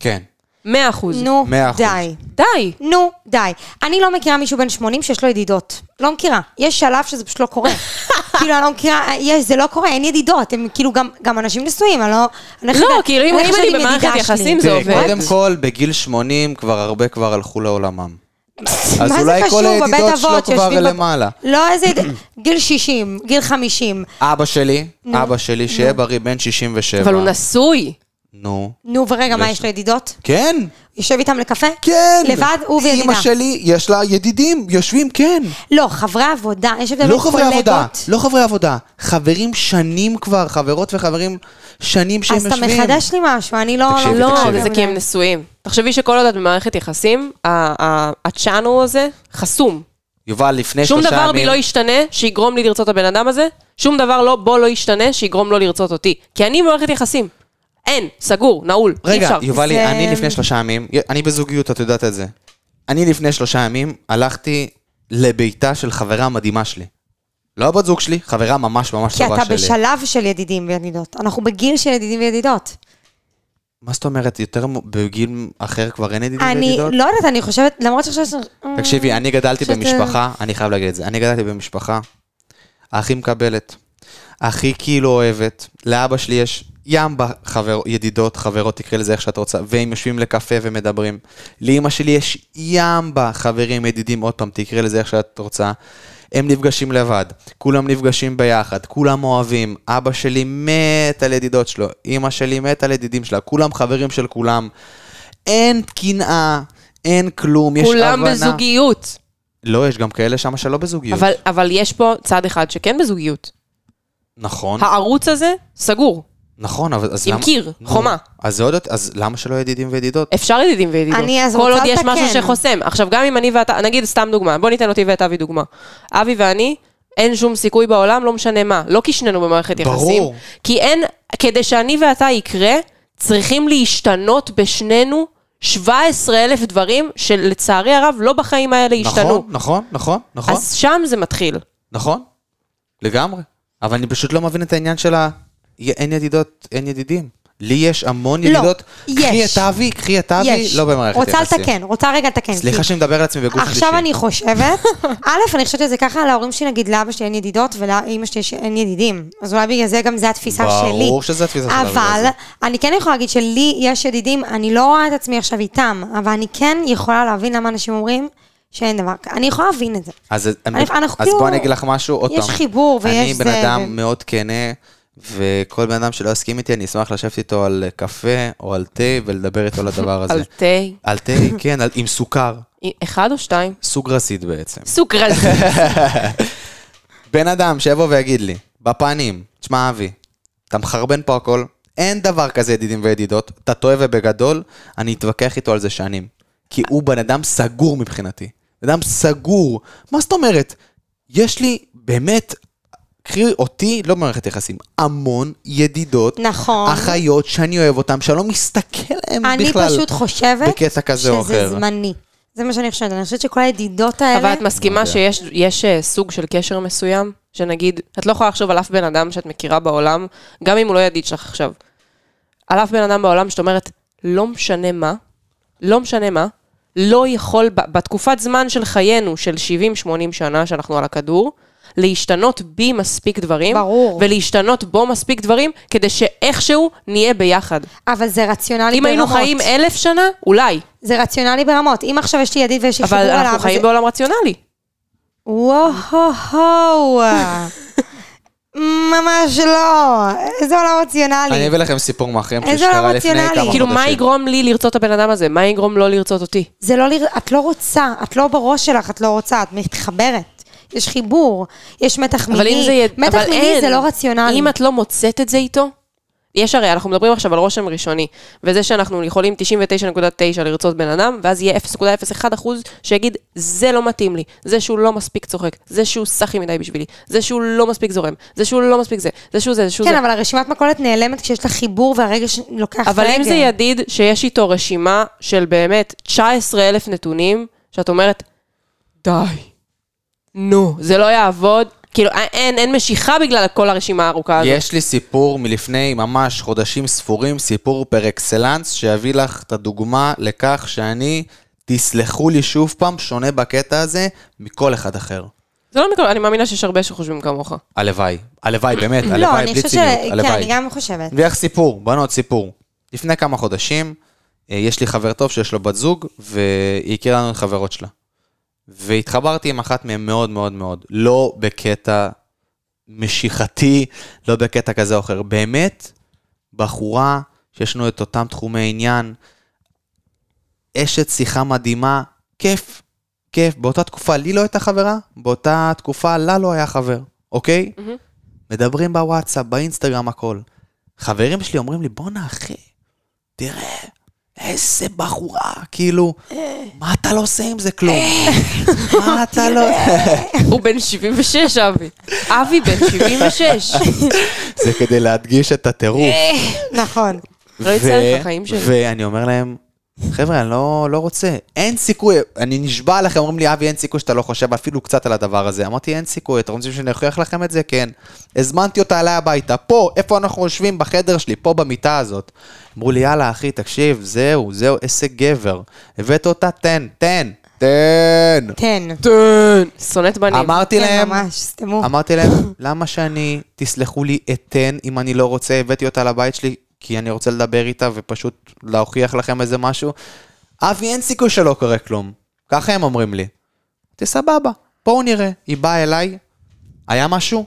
[SPEAKER 1] כן.
[SPEAKER 2] מאה אחוז.
[SPEAKER 3] נו,
[SPEAKER 1] מאה אחוז.
[SPEAKER 3] די.
[SPEAKER 2] די.
[SPEAKER 3] נו, די. אני לא מכירה מישהו בן 80 שיש לו ידידות. לא מכירה. יש שלב שזה פשוט לא קורה. כאילו, אני לא מכירה, יש, זה לא קורה, אין ידידות. הם כאילו גם, גם אנשים נשואים, אני לא... אני
[SPEAKER 2] לא,
[SPEAKER 3] חושבת-
[SPEAKER 2] כאילו, אם- אם
[SPEAKER 3] חושבת
[SPEAKER 2] אני
[SPEAKER 3] עם ידידה
[SPEAKER 2] במערכת
[SPEAKER 3] שלי.
[SPEAKER 2] יחסים, זה
[SPEAKER 1] תראי,
[SPEAKER 2] עובד.
[SPEAKER 1] קודם כל, בגיל 80 כבר הרבה כבר הלכו לעולמם. אז
[SPEAKER 3] מה זה
[SPEAKER 1] אולי
[SPEAKER 3] קשור?
[SPEAKER 1] כל
[SPEAKER 3] בבית
[SPEAKER 1] הידידות שלו
[SPEAKER 3] אבות
[SPEAKER 1] כבר
[SPEAKER 3] יושבים בב-
[SPEAKER 1] למעלה.
[SPEAKER 3] לא, איזה... גיל 60, גיל 50.
[SPEAKER 1] אבא שלי, אבא שלי, שיהיה בריא, בן 67.
[SPEAKER 2] אבל הוא נשוי.
[SPEAKER 1] נו.
[SPEAKER 3] נו, ורגע, מה,
[SPEAKER 1] יש-
[SPEAKER 3] יש לו ידידות?
[SPEAKER 1] כן,
[SPEAKER 3] יושב איתם לקפה?
[SPEAKER 1] כן.
[SPEAKER 3] לבד, הוא וידידה.
[SPEAKER 1] אימא שלי, יש לה ידידים, יושבים, כן.
[SPEAKER 3] לא, חברי עבודה, יש הבדל
[SPEAKER 1] לא
[SPEAKER 3] בין
[SPEAKER 1] חברי עבודה,
[SPEAKER 3] קולגות.
[SPEAKER 1] לא חברי עבודה. חברים שנים כבר, חברות וחברים שנים שהם
[SPEAKER 3] אז אתה
[SPEAKER 1] יושבים.
[SPEAKER 3] מחדש לי משהו, אני לא...
[SPEAKER 1] תקשיבי,
[SPEAKER 2] לא,
[SPEAKER 1] תקשיבי.
[SPEAKER 2] זה כי הם נשואים. תחשבי שכל עוד את במערכת יחסים, ה- ה- הצ'אנל הזה חסום.
[SPEAKER 1] יובל, לפני
[SPEAKER 2] שום
[SPEAKER 1] שלושה
[SPEAKER 2] דבר בי
[SPEAKER 1] ימים...
[SPEAKER 2] לא ישתנה שיגרום לי לרצות את הבן אדם הזה, שום דבר לא, בו לא ישתנה שיגרום לו לרצות אותי. כי אני במערכת יחסים. אין, סגור, נעול, אי
[SPEAKER 1] רגע,
[SPEAKER 2] אפשר.
[SPEAKER 1] יובלי,
[SPEAKER 3] זה-
[SPEAKER 1] אני לפני שלושה ימים, אני בזוגיות, את יודעת את זה. אני לפני שלושה ימים הלכתי לביתה של חברה מדהימה שלי. לא הבת זוג שלי, חברה ממש ממש
[SPEAKER 3] כי
[SPEAKER 1] טובה שלי.
[SPEAKER 3] אתה בשלב של ידידים וידידות. אנחנו בגיל של ידידים וידידות.
[SPEAKER 1] מה זאת אומרת, יותר מ- בגיל אחר כבר אין ידידים
[SPEAKER 3] אני
[SPEAKER 1] וידידות?
[SPEAKER 3] לא יודעת, אני חושבת, אה, למרות שעכשיו... יש-
[SPEAKER 1] תקשיבי, אני גדלתי
[SPEAKER 3] שאתה-
[SPEAKER 1] במשפחה, אני חייב להגיד את זה, אני גדלתי במשפחה, הכי מקבלת, הכי כאילו אוהבת, לאבא שלי יש ים בחבר, ידידות, חברות, תקראי לזה איך שאת רוצה, והם יושבים לקפה ומדברים. לאימא שלי יש ים בחברים, ידידים, עוד פעם, תקראי לזה איך שאת רוצה. הם נפגשים לבד, כולם נפגשים ביחד, כולם אוהבים, אבא שלי מת על ידידות שלו, אימא שלי מת על ידידים שלה, כולם חברים של כולם. אין קנאה, אין כלום, יש הבנה.
[SPEAKER 2] כולם בזוגיות.
[SPEAKER 1] לא, יש גם כאלה שם שלא בזוגיות.
[SPEAKER 2] אבל, אבל יש פה צד אחד שכן בזוגיות.
[SPEAKER 1] נכון,
[SPEAKER 2] הערוץ הזה סגור.
[SPEAKER 1] נכון, אבל אז
[SPEAKER 2] עם
[SPEAKER 1] למה...
[SPEAKER 2] קיר,
[SPEAKER 1] נו,
[SPEAKER 2] חומה.
[SPEAKER 1] אז זה עוד... אז למה שלא ידידים וידידות?
[SPEAKER 2] אפשר ידידים וידידות.
[SPEAKER 3] אני אז כן.
[SPEAKER 2] כל
[SPEAKER 3] רוצה
[SPEAKER 2] עוד יש
[SPEAKER 3] לתקן.
[SPEAKER 2] משהו שחוסם. עכשיו, גם אם אני ואתה, נגיד סתם דוגמה, בוא ניתן אותי ואת אבי דוגמה. אבי ואני, אין שום סיכוי בעולם, לא משנה מה. לא כי שנינו במערכת
[SPEAKER 1] ברור.
[SPEAKER 2] יחסים. כי אין, כדי שאני ואתה יקרה, צריכים להשתנות בשנינו 17 אלף דברים שלצערי הרב לא בחיים האלה השתנו.
[SPEAKER 1] נכון, נכון, נכון, נכון,
[SPEAKER 2] אז שם זה מתחיל.
[SPEAKER 1] נכון, לגמרי. אבל אני פשוט לא מבין את העניין של ה... י- אין ידידות, אין ידידים. לי יש המון
[SPEAKER 3] לא,
[SPEAKER 1] ידידות. קחי
[SPEAKER 3] יש.
[SPEAKER 1] את אבי, קחי את אבי,
[SPEAKER 3] יש.
[SPEAKER 1] לא במערכת
[SPEAKER 3] רוצה
[SPEAKER 1] יחסים.
[SPEAKER 3] לתקן, רוצה רגע לתקן.
[SPEAKER 1] סליחה
[SPEAKER 3] כי
[SPEAKER 1] שאני מדבר על עצמי בגוף שלישי.
[SPEAKER 3] עכשיו אני חושבת, א', אני חושבת שזה ככה, להורים שלי, נגיד, לאבא שלי אין ידידות ולאמא שלי יש- אין ידידים. אז אולי בגלל זה גם זו התפיסה שלי.
[SPEAKER 1] ברור שזו התפיסה שלנו.
[SPEAKER 3] אבל אני כן יכולה להגיד שלי יש ידידים, אני לא רואה את עצמי עכשיו איתם, אבל אני כן יכולה להבין למה אנשים אומרים שאין דבר כזה. אני יכולה להבין את זה.
[SPEAKER 1] אז,
[SPEAKER 3] אני- אנחנו
[SPEAKER 1] אז
[SPEAKER 3] כאילו-
[SPEAKER 1] בוא אני אגיד לך משהו עוד פעם.
[SPEAKER 3] יש חיבור
[SPEAKER 1] אני
[SPEAKER 3] ויש
[SPEAKER 1] בן
[SPEAKER 3] זה,
[SPEAKER 1] אדם
[SPEAKER 3] ו-
[SPEAKER 1] מאוד כנה, וכל בן אדם שלא יסכים איתי, אני אשמח לשבת איתו על אה, קפה או על תה ולדבר איתו על הדבר הזה.
[SPEAKER 2] על תה,
[SPEAKER 1] על תה, כן, על, עם סוכר,
[SPEAKER 2] אחד או שתיים?
[SPEAKER 1] סוג רסיד בעצם.
[SPEAKER 2] סוכרז.
[SPEAKER 1] בן אדם שיבוא ויגיד לי, בפנים, תשמע אבי, אתה מחרבן פה הכל, אין דבר כזה ידידים וידידות, אתה טועה ובגדול, אני אתווכח איתו על זה שנים. כי הוא בן אדם סגור מבחינתי. בן אדם סגור. מה זאת אומרת? יש לי באמת, קחי אותי, לא במערכת יחסים, המון ידידות,
[SPEAKER 3] נכון.
[SPEAKER 1] אחיות שאני אוהב אותן, שאני לא מסתכל עליהן בכלל.
[SPEAKER 3] אני פשוט חושבת
[SPEAKER 1] בקטע כזה או
[SPEAKER 3] שזה
[SPEAKER 1] אחר.
[SPEAKER 3] זמני. זה מה שאני חושבת, אני חושבת שכל הידידות האלה...
[SPEAKER 2] אבל את מסכימה
[SPEAKER 1] יודע.
[SPEAKER 2] שיש יש, אה, סוג של קשר מסוים, שנגיד, את לא יכולה לחשוב על אף בן אדם שאת מכירה בעולם, גם אם הוא לא ידיד שלך עכשיו. על אף בן אדם בעולם שאת אומרת, לא משנה מה, לא משנה מה, לא יכול, ב- בתקופת זמן של חיינו, של 70-80 שנה שאנחנו על הכדור, להשתנות בי מספיק דברים,
[SPEAKER 3] ברור.
[SPEAKER 2] ולהשתנות בו מספיק דברים, כדי שאיכשהו נהיה ביחד.
[SPEAKER 3] אבל זה רציונלי ברמות.
[SPEAKER 2] אם היינו חיים אלף שנה, אולי,
[SPEAKER 3] זה רציונלי ברמות. אם עכשיו יש לי ידיד ויש לי חיבור
[SPEAKER 2] אבל
[SPEAKER 3] עליו...
[SPEAKER 2] אנחנו
[SPEAKER 3] אז
[SPEAKER 2] חיים
[SPEAKER 3] זה-
[SPEAKER 2] בעולם רציונלי.
[SPEAKER 3] וואו. ממש לא. איזה עולם
[SPEAKER 1] אני
[SPEAKER 3] רציונלי.
[SPEAKER 1] אביא לכם סיפור מאחרים
[SPEAKER 3] איזה
[SPEAKER 1] שקרה
[SPEAKER 3] עולם
[SPEAKER 1] לפני כמה
[SPEAKER 3] רציונלי.
[SPEAKER 1] חודשים.
[SPEAKER 2] כאילו, מה יגרום לי לרצות את הבן אדם הזה? מה יגרום לו לרצות אותי?
[SPEAKER 3] זה לא, לר- את לא רוצה, את לא בראש שלך, את לא רוצה, את מתחברת. יש חיבור, יש מתח מיני.
[SPEAKER 2] אבל אם זה יהיה...
[SPEAKER 3] מתח
[SPEAKER 2] אבל
[SPEAKER 3] מיני
[SPEAKER 2] אין.
[SPEAKER 3] זה לא רציונלי.
[SPEAKER 2] אם את לא מוצאת את זה איתו... יש הרי, אנחנו מדברים עכשיו על רושם ראשוני, וזה שאנחנו יכולים 99.9 לרצות בן אדם, ואז יהיה 0.01 אחוז שיגיד, זה לא מתאים לי, זה שהוא לא מספיק צוחק, זה שהוא סחי מדי בשבילי, זה שהוא לא מספיק זורם, זה שהוא לא מספיק זה, זה שהוא זה, זה שהוא
[SPEAKER 3] כן,
[SPEAKER 2] זה.
[SPEAKER 3] אבל הרשימת מכולת נעלמת כשיש לה חיבור והרגש לוקח את
[SPEAKER 2] אבל
[SPEAKER 3] הרגל.
[SPEAKER 2] אם זה ידיד שיש איתו רשימה של באמת 19 אלף נתונים, שאת אומרת, די, נו, זה לא יעבוד. כאילו, א- אין, אין משיכה בגלל כל הרשימה הארוכה הזאת.
[SPEAKER 1] יש לי סיפור מלפני ממש חודשים ספורים, סיפור פר אקסלנס, שיביא לך את הדוגמה לכך שאני, תסלחו לי שוב פעם, שונה בקטע הזה מכל אחד אחר.
[SPEAKER 2] זה לא מכל, אני מאמינה שיש הרבה שחושבים כמוך.
[SPEAKER 1] הלוואי. הלוואי, באמת,
[SPEAKER 3] לא,
[SPEAKER 1] הלוואי,
[SPEAKER 3] אני
[SPEAKER 1] בלי
[SPEAKER 3] חושבת ש...
[SPEAKER 1] ציניות,
[SPEAKER 3] כן,
[SPEAKER 1] הלוואי.
[SPEAKER 3] אני גם חושבת.
[SPEAKER 1] ואיך סיפור, בנות סיפור. לפני כמה חודשים, אה, יש לי חבר טוב שיש לו בת זוג, והיא הכירה לנו את חברות שלה. והתחברתי עם אחת מהן מאוד מאוד מאוד, לא בקטע משיכתי, לא בקטע כזה או אחר, באמת, בחורה שיש לנו את אותם תחומי עניין. אשת שיחה מדהימה, כיף, כיף. באותה תקופה לי לא הייתה חברה, באותה תקופה לה לא היה חבר, אוקיי?
[SPEAKER 2] מהמם.
[SPEAKER 1] מדברים בוואטסאפ, באינסטגרם, הכל. חברים שלי אומרים לי, בואנה אחי, תראה, איזה בחורה, כאילו, מה אתה לא עושה עם זה כלום? מה אתה לא...
[SPEAKER 2] הוא בן 76, אבי. אבי בן 76.
[SPEAKER 1] זה כדי להדגיש את הטירוף.
[SPEAKER 3] נכון.
[SPEAKER 2] לא
[SPEAKER 1] ו-
[SPEAKER 2] יצא לך חיים שלי.
[SPEAKER 1] ואני אומר להם, חבר'ה, אני לא, לא רוצה, אין סיכוי, אני נשבע לכם, אומרים לי, אבי, אין סיכוי שאתה לא חושב אפילו קצת על הדבר הזה. אמרתי, אין סיכוי, אתם רוצים שאני אוכיח לכם את זה? כן. הזמנתי אותה אליי הביתה, פה, איפה אנחנו יושבים? בחדר שלי, פה במיטה הזאת. אמרו לי, יאללה, אחי, תקשיב, זהו, זהו, איזה גבר. הבאת אותה, תן, תן, תן.
[SPEAKER 3] תן.
[SPEAKER 2] טן. שונאת בנים.
[SPEAKER 1] אמרתי
[SPEAKER 3] כן,
[SPEAKER 1] להם,
[SPEAKER 3] ממש, סתמו.
[SPEAKER 1] אמרתי להם, למה שאני, תסלחו לי, אתן אם אני לא רוצה, הבאתי אותה לבית שלי, כי אני רוצה לדבר איתה ופשוט להוכיח לכם איזה משהו. אבי, אין סיכוי שלא קורה כלום. ככה הם אומרים לי. אמרתי, סבבה, בואו נראה. היא באה אליי, היה משהו?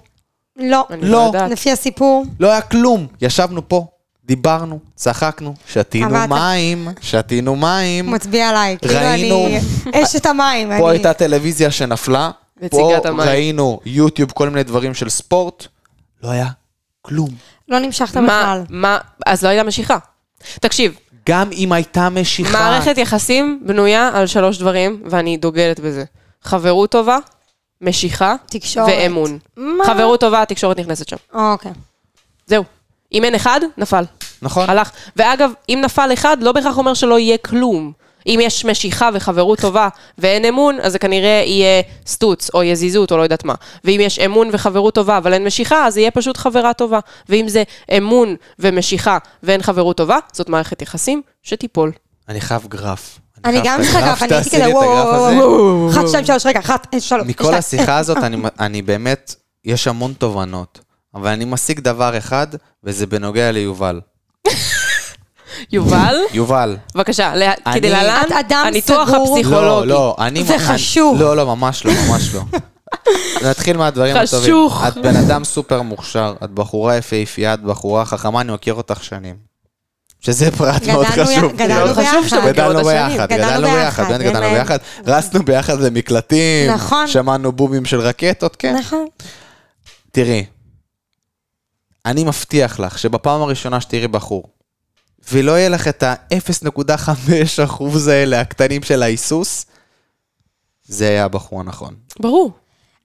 [SPEAKER 3] לא.
[SPEAKER 2] אני לא יודעת.
[SPEAKER 3] לפי הסיפור,
[SPEAKER 1] לא היה כלום. ישבנו פה, דיברנו, צחקנו, שתינו
[SPEAKER 3] אמרת-
[SPEAKER 1] מים, שתינו מים.
[SPEAKER 3] מצביע עליי. כאילו
[SPEAKER 1] ראינו.
[SPEAKER 3] אני אשת המים.
[SPEAKER 1] פה
[SPEAKER 3] אני-
[SPEAKER 1] הייתה טלוויזיה שנפלה, פה
[SPEAKER 2] נציגת המים.
[SPEAKER 1] ראינו יוטיוב, כל מיני דברים של ספורט. לא היה כלום.
[SPEAKER 3] לא נמשכת
[SPEAKER 2] מה,
[SPEAKER 3] בכלל.
[SPEAKER 2] מה, אז לא הייתה משיכה. תקשיב,
[SPEAKER 1] גם אם הייתה משיכה...
[SPEAKER 2] מערכת יחסים בנויה על שלוש דברים, ואני דוגלת בזה. חברות טובה, משיכה
[SPEAKER 3] תקשורת.
[SPEAKER 2] ואמון.
[SPEAKER 3] מה?
[SPEAKER 2] חברות טובה, התקשורת נכנסת שם.
[SPEAKER 3] אוקיי.
[SPEAKER 2] זהו. אם אין אחד, נפל.
[SPEAKER 1] נכון.
[SPEAKER 2] הלך. ואגב, אם נפל אחד, לא בהכרח אומר שלא יהיה כלום. אם יש משיכה וחברות טובה ואין אמון, אז זה כנראה יהיה סטוץ, או יזיזות, או לא יודעת מה. ואם יש אמון וחברות טובה, אבל אין משיכה, אז יהיה פשוט חברה טובה. ואם זה אמון ומשיכה ואין חברות טובה, זאת מערכת יחסים שתיפול.
[SPEAKER 1] אני חייב גרף.
[SPEAKER 3] אני
[SPEAKER 1] חייב
[SPEAKER 3] גם
[SPEAKER 1] את
[SPEAKER 3] צריכה
[SPEAKER 1] הגרף,
[SPEAKER 3] גרף, אני הייתי
[SPEAKER 1] תעשי
[SPEAKER 3] כזה
[SPEAKER 1] לי את
[SPEAKER 3] וואו,
[SPEAKER 1] הגרף
[SPEAKER 3] וואו,
[SPEAKER 1] הזה.
[SPEAKER 3] וואו, אחת, שתיים, שלוש, רגע, אחת, אה, שלוש.
[SPEAKER 1] מכל
[SPEAKER 3] שתיים.
[SPEAKER 1] השיחה הזאת אני, אני באמת, יש המון תובנות, אבל אני משיג דבר אחד, וזה בנוגע ליובל.
[SPEAKER 2] יובל,
[SPEAKER 1] יובל.
[SPEAKER 2] בבקשה, לה-
[SPEAKER 1] אני-
[SPEAKER 2] כדי להלן,
[SPEAKER 3] את אדם
[SPEAKER 2] הניתוח
[SPEAKER 3] סגור.
[SPEAKER 1] לא,
[SPEAKER 2] הפסיכולוגי.
[SPEAKER 1] לא, אני...
[SPEAKER 3] זה
[SPEAKER 1] אני-
[SPEAKER 3] חשוך.
[SPEAKER 1] לא, לא, ממש לא, ממש לא. נתחיל מהדברים הטובים.
[SPEAKER 2] חשוך.
[SPEAKER 1] את בן אדם סופר מוכשר, את בחורה יפהפייה, את בחורה חכמה, אני מכיר אותך שנים. שזה פרט מאוד
[SPEAKER 3] גדלנו י-
[SPEAKER 1] חשוב.
[SPEAKER 3] גדלנו
[SPEAKER 1] מאוד חשוב.
[SPEAKER 2] חשוב שאתה מכיר
[SPEAKER 1] גדלנו
[SPEAKER 2] אותה שנים.
[SPEAKER 1] ביחד,
[SPEAKER 3] גדלנו
[SPEAKER 1] גדלנו
[SPEAKER 3] ביחד,
[SPEAKER 1] ביחד, באמת
[SPEAKER 3] אין
[SPEAKER 1] גדלנו
[SPEAKER 3] להם.
[SPEAKER 1] ביחד, רצנו ביחד למקלטים,
[SPEAKER 3] נכון.
[SPEAKER 1] שמענו בומים של רקטות, כן.
[SPEAKER 3] נכון.
[SPEAKER 1] תראי, אני מבטיח לך שבפעם הראשונה שתראי בחור, ולא יהיה לך את ה-0.5 אחוז האלה הקטנים של ההיסוס, זה היה הבחור הנכון.
[SPEAKER 2] ברור.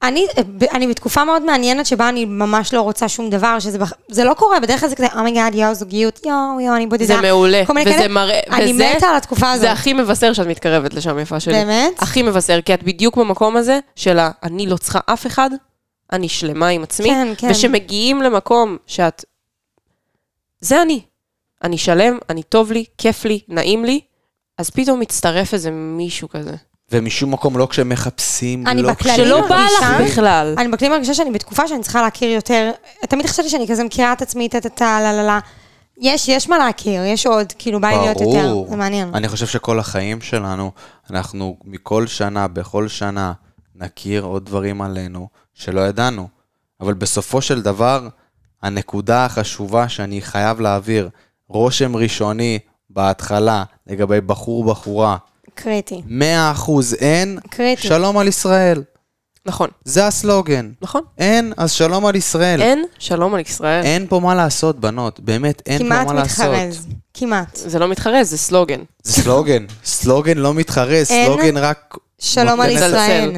[SPEAKER 3] אני, אה, אני בתקופה מאוד מעניינת שבה אני ממש לא רוצה שום דבר, שזה בח... זה לא קורה, בדרך כלל זה כזה, אומייגאד, יואו, זוגיות, יואו, יואו, אני בודדה.
[SPEAKER 2] זה מעולה,
[SPEAKER 3] כל מיני
[SPEAKER 2] וזה
[SPEAKER 3] כאלה.
[SPEAKER 2] מראה,
[SPEAKER 3] אני
[SPEAKER 2] וזה-
[SPEAKER 3] מתה על התקופה הזאת.
[SPEAKER 2] זה הכי מבשר שאת מתקרבת לשם, יפה שלי. אה,
[SPEAKER 3] באמת?
[SPEAKER 2] הכי מבשר, כי את בדיוק במקום הזה של ה- אני לא צריכה אף אחד, אני שלמה עם עצמי.
[SPEAKER 3] כן, כן.
[SPEAKER 2] ושמגיעים למקום שאת... זה אני. אני שלם, אני טוב לי, כיף לי, נעים לי, אז פתאום מצטרף איזה מישהו כזה.
[SPEAKER 1] ומשום מקום לא כשמחפשים,
[SPEAKER 3] אני
[SPEAKER 1] לא
[SPEAKER 3] בכללי
[SPEAKER 1] כש-
[SPEAKER 2] שלא בא
[SPEAKER 3] מרגישה-
[SPEAKER 2] לך בכלל.
[SPEAKER 3] אני בכלי מרגישה שאני בתקופה שאני צריכה להכיר יותר, תמיד חשבתי שאני כזה מכירה את עצמי, טה-טה-טה, לה-לה-לה. יש, יש מה להכיר, יש עוד, כאילו, בא לי להיות יותר,
[SPEAKER 1] ברור.
[SPEAKER 3] זה מעניין.
[SPEAKER 1] אני חושב שכל החיים שלנו, אנחנו מכל שנה, בכל שנה, נכיר עוד דברים עלינו שלא ידענו. אבל בסופו של דבר, הנקודה החשובה שאני חייב להעביר, רושם ראשוני בהתחלה לגבי בחור-בחורה,
[SPEAKER 3] קריטי.
[SPEAKER 1] 100% אין,
[SPEAKER 3] קריטי.
[SPEAKER 1] שלום על ישראל.
[SPEAKER 2] נכון,
[SPEAKER 1] זה הסלוגן.
[SPEAKER 3] לא.
[SPEAKER 2] נכון.
[SPEAKER 1] אין, אז שלום על ישראל.
[SPEAKER 2] אין שלום על ישראל.
[SPEAKER 1] אין פה מה לעשות, בנות. באמת, אין פה
[SPEAKER 3] כמעט
[SPEAKER 1] מה לעשות.
[SPEAKER 3] מתחרז. כמעט.
[SPEAKER 2] זה לא מתחרז, זה סלוגן.
[SPEAKER 1] זה סלוגן. סלוגן לא מתחרה,
[SPEAKER 3] אין
[SPEAKER 1] סלוגן רק...
[SPEAKER 3] שלום על
[SPEAKER 1] נותן את-
[SPEAKER 2] לזלזל.
[SPEAKER 3] ישראל.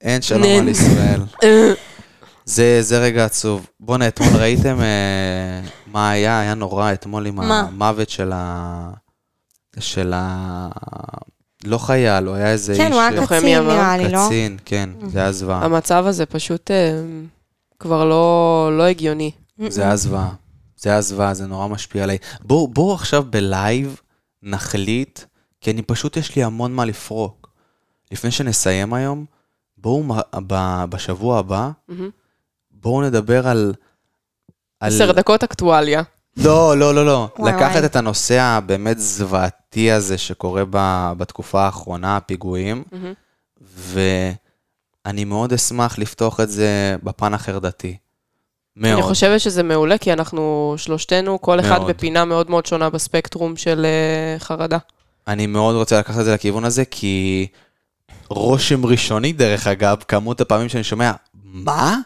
[SPEAKER 1] אין שלום
[SPEAKER 2] אין.
[SPEAKER 1] על ישראל. זה, זה רגע עצוב. בואנה, אתמול ראיתם אה, מה היה? היה נורא אתמול עם
[SPEAKER 3] מה?
[SPEAKER 1] המוות של ה... של ה... לא חייל, הוא היה איזה איש...
[SPEAKER 3] כן, הוא היה
[SPEAKER 1] אה,
[SPEAKER 2] לוחם
[SPEAKER 3] קצין,
[SPEAKER 2] ימ"מ.
[SPEAKER 3] נראה לי, לא?
[SPEAKER 1] קצין, כן, זה היה זוועה.
[SPEAKER 2] המצב הזה פשוט אה, כבר לא, לא הגיוני.
[SPEAKER 1] זה היה זוועה. זה היה זוועה, זה נורא משפיע עליי. בואו בוא עכשיו בלייב נחליט, כי אני פשוט, יש לי המון מה לפרוק. לפני שנסיים היום, בואו מ- ב- בשבוע הבא,
[SPEAKER 2] מהמם.
[SPEAKER 1] בואו נדבר על... על-
[SPEAKER 2] עשר דקות אקטואליה.
[SPEAKER 1] לא, לא, לא, לא.
[SPEAKER 3] וואי,
[SPEAKER 1] לקחת
[SPEAKER 3] וואי.
[SPEAKER 1] את הנושא הבאמת זוועתי הזה שקורה ב- בתקופה האחרונה, הפיגועים,
[SPEAKER 2] מהמם.
[SPEAKER 1] ואני מאוד אשמח לפתוח את זה בפן החרדתי. מאוד.
[SPEAKER 2] אני חושבת שזה מעולה, כי אנחנו שלושתנו, כל אחד
[SPEAKER 1] מאוד.
[SPEAKER 2] בפינה מאוד מאוד שונה בספקטרום של אה, חרדה.
[SPEAKER 1] אני מאוד רוצה לקחת את זה לכיוון הזה, כי רושם ראשוני, דרך אגב, כמות הפעמים שאני שומע, מה?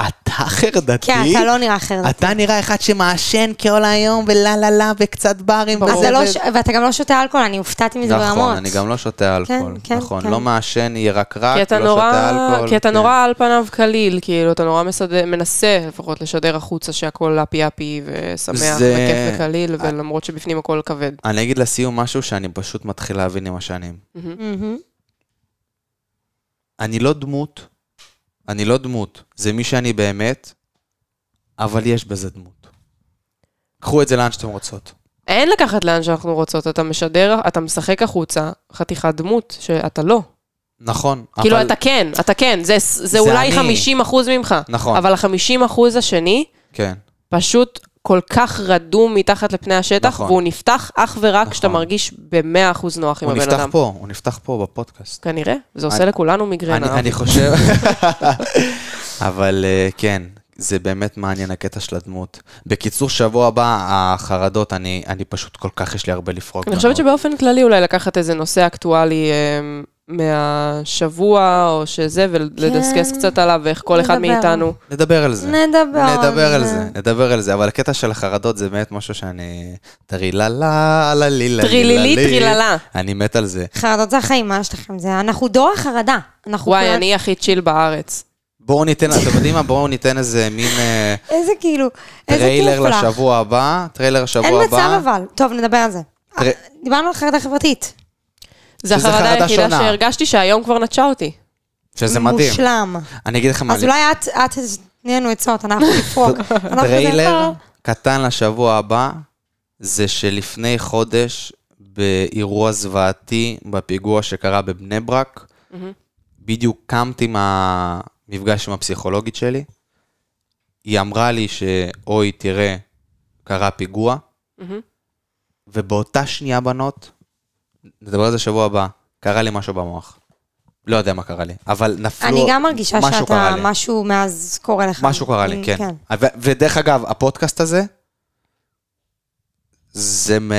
[SPEAKER 1] אתה חרדתי?
[SPEAKER 3] כן, אתה לא נראה אחרת.
[SPEAKER 1] אתה נראה אחד שמעשן כל היום, ולה לה לה, וקצת ברים,
[SPEAKER 2] ברור.
[SPEAKER 3] אז
[SPEAKER 1] וזה
[SPEAKER 3] זה לא,
[SPEAKER 1] וזה.
[SPEAKER 3] ש- ואתה גם לא שותה אלכוהול, אני הופתעתי מזה ברמות.
[SPEAKER 1] נכון, אני גם לא שותה אלכוהול.
[SPEAKER 3] כן,
[SPEAKER 1] נכון,
[SPEAKER 3] כן.
[SPEAKER 1] לא מעשן ירקרק,
[SPEAKER 2] כי
[SPEAKER 1] לא
[SPEAKER 2] אתה
[SPEAKER 1] שותה
[SPEAKER 2] נורא,
[SPEAKER 1] אלכוהול.
[SPEAKER 2] כי אתה
[SPEAKER 1] כן.
[SPEAKER 2] נורא על פניו קליל, כאילו, אתה נורא מסדר, מנסה לפחות לשדר החוצה שהכל אפי אפי ושמח
[SPEAKER 1] זה- אה.
[SPEAKER 2] וכיף וקליל, ולמרות שבפנים הכל כבד.
[SPEAKER 1] אני אגיד לסיום משהו שאני פשוט מתחיל להבין עם השנים.
[SPEAKER 3] מהמם.
[SPEAKER 1] אני לא דמות, אני לא דמות, זה מי שאני באמת, אבל יש בזה דמות. קחו את זה לאן שאתם רוצות.
[SPEAKER 2] אין לקחת לאן שאנחנו רוצות, אתה משדר, אתה משחק החוצה, חתיכת דמות, שאתה לא.
[SPEAKER 1] נכון.
[SPEAKER 2] כאילו,
[SPEAKER 1] אבל-
[SPEAKER 2] אתה כן, אתה כן, זה, זה,
[SPEAKER 1] זה
[SPEAKER 2] אולי
[SPEAKER 1] אני.
[SPEAKER 2] 50 אחוז ממך.
[SPEAKER 1] נכון.
[SPEAKER 2] אבל ה-50 אחוז השני,
[SPEAKER 1] כן.
[SPEAKER 2] פשוט כל כך רדום מתחת לפני השטח,
[SPEAKER 1] נכון.
[SPEAKER 2] והוא נפתח אך ורק כשאתה
[SPEAKER 1] נכון.
[SPEAKER 2] מרגיש ב-100 אחוז נוח עם
[SPEAKER 1] הוא
[SPEAKER 2] הבן
[SPEAKER 1] נפתח
[SPEAKER 2] אדם.
[SPEAKER 1] פה, הוא נפתח פה בפודקאסט.
[SPEAKER 2] כנראה, זה עושה
[SPEAKER 1] אני-
[SPEAKER 2] לכולנו מיגרנה.
[SPEAKER 1] אני, אני חושב... אבל אה, כן, זה באמת מעניין הקטע של הדמות. בקיצור, שבוע הבא, החרדות, אני, אני פשוט כל כך, יש לי הרבה לפרוק.
[SPEAKER 2] אני חושבת
[SPEAKER 1] בנות.
[SPEAKER 2] שבאופן כללי אולי לקחת איזה נושא אקטואלי אה, מהשבוע או שזה, ולדסקס
[SPEAKER 3] כן.
[SPEAKER 2] קצת עליו, ואיך כל אחד
[SPEAKER 3] נדבר.
[SPEAKER 2] מאיתנו.
[SPEAKER 1] נדבר על זה.
[SPEAKER 3] נדבר.
[SPEAKER 1] נדבר על זה, נדבר על זה, אבל הקטע של החרדות זה באמת משהו שאני... טריללה, ללילה,
[SPEAKER 2] טרילילי, טריללה.
[SPEAKER 1] אני מת על זה.
[SPEAKER 3] חרדות זה החיים, מה יש לכם? זה, אנחנו דור החרדה. אנחנו
[SPEAKER 2] וואי,
[SPEAKER 3] כולנו-
[SPEAKER 2] אני הכי צ'יל בארץ.
[SPEAKER 1] בואו ניתן, אתם יודעים מה? בואו ניתן איזה מין אה,
[SPEAKER 3] איזה כאילו, איזה
[SPEAKER 1] טריילר
[SPEAKER 3] כיף לך.
[SPEAKER 1] לשבוע הבא, טריילר לשבוע
[SPEAKER 3] אין
[SPEAKER 1] הבא.
[SPEAKER 3] מצב אבל. טוב, נדבר על זה.
[SPEAKER 1] תראה-
[SPEAKER 3] אה, דיברנו על חרדה חברתית.
[SPEAKER 2] זה
[SPEAKER 1] שזה
[SPEAKER 2] החרדה
[SPEAKER 1] חרדה
[SPEAKER 2] היחידה
[SPEAKER 1] שונה.
[SPEAKER 2] שהרגשתי שהיום כבר נטשה אותי.
[SPEAKER 1] שזה מדהים.
[SPEAKER 3] מושלם.
[SPEAKER 1] אני אגיד לך מה,
[SPEAKER 3] אז אולי את, את תתני לנו עצות, אנחנו נפרוק. אנחנו כזה,
[SPEAKER 1] טריילר
[SPEAKER 3] אה,
[SPEAKER 1] קטן לשבוע הבא, זה שלפני חודש, באירוע זוועתי, בפיגוע שקרה בבני ברק, בדיוק קמתי מהמפגש עם הפסיכולוגית שלי, היא אמרה לי שאוי, תראה, קרה פיגוע,
[SPEAKER 2] מהמם.
[SPEAKER 1] ובאותה שנייה, בנות, נדבר על זה שבוע הבא, קרה לי משהו במוח. לא יודע מה קרה לי, אבל נפלו...
[SPEAKER 3] אני גם מרגישה
[SPEAKER 1] משהו
[SPEAKER 3] שאתה,
[SPEAKER 1] קרה לי.
[SPEAKER 3] משהו מאז קורה לך.
[SPEAKER 1] משהו קרה לי,
[SPEAKER 3] Mm,
[SPEAKER 1] כן. ו- ודרך אגב, הפודקאסט הזה, זה מ-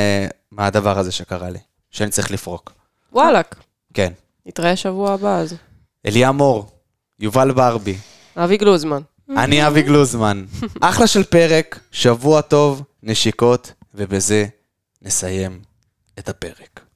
[SPEAKER 1] מהדבר הזה שקרה לי, שאני צריך לפרוק.
[SPEAKER 2] וואלאק,
[SPEAKER 1] כן.
[SPEAKER 2] נתראה שבוע הבא אז.
[SPEAKER 1] אליה מור, יובל ברבי,
[SPEAKER 2] אבי גלוזמן.
[SPEAKER 1] אני אבי גלוזמן. אחלה של פרק, שבוע טוב, נשיקות, ובזה נסיים את הפרק.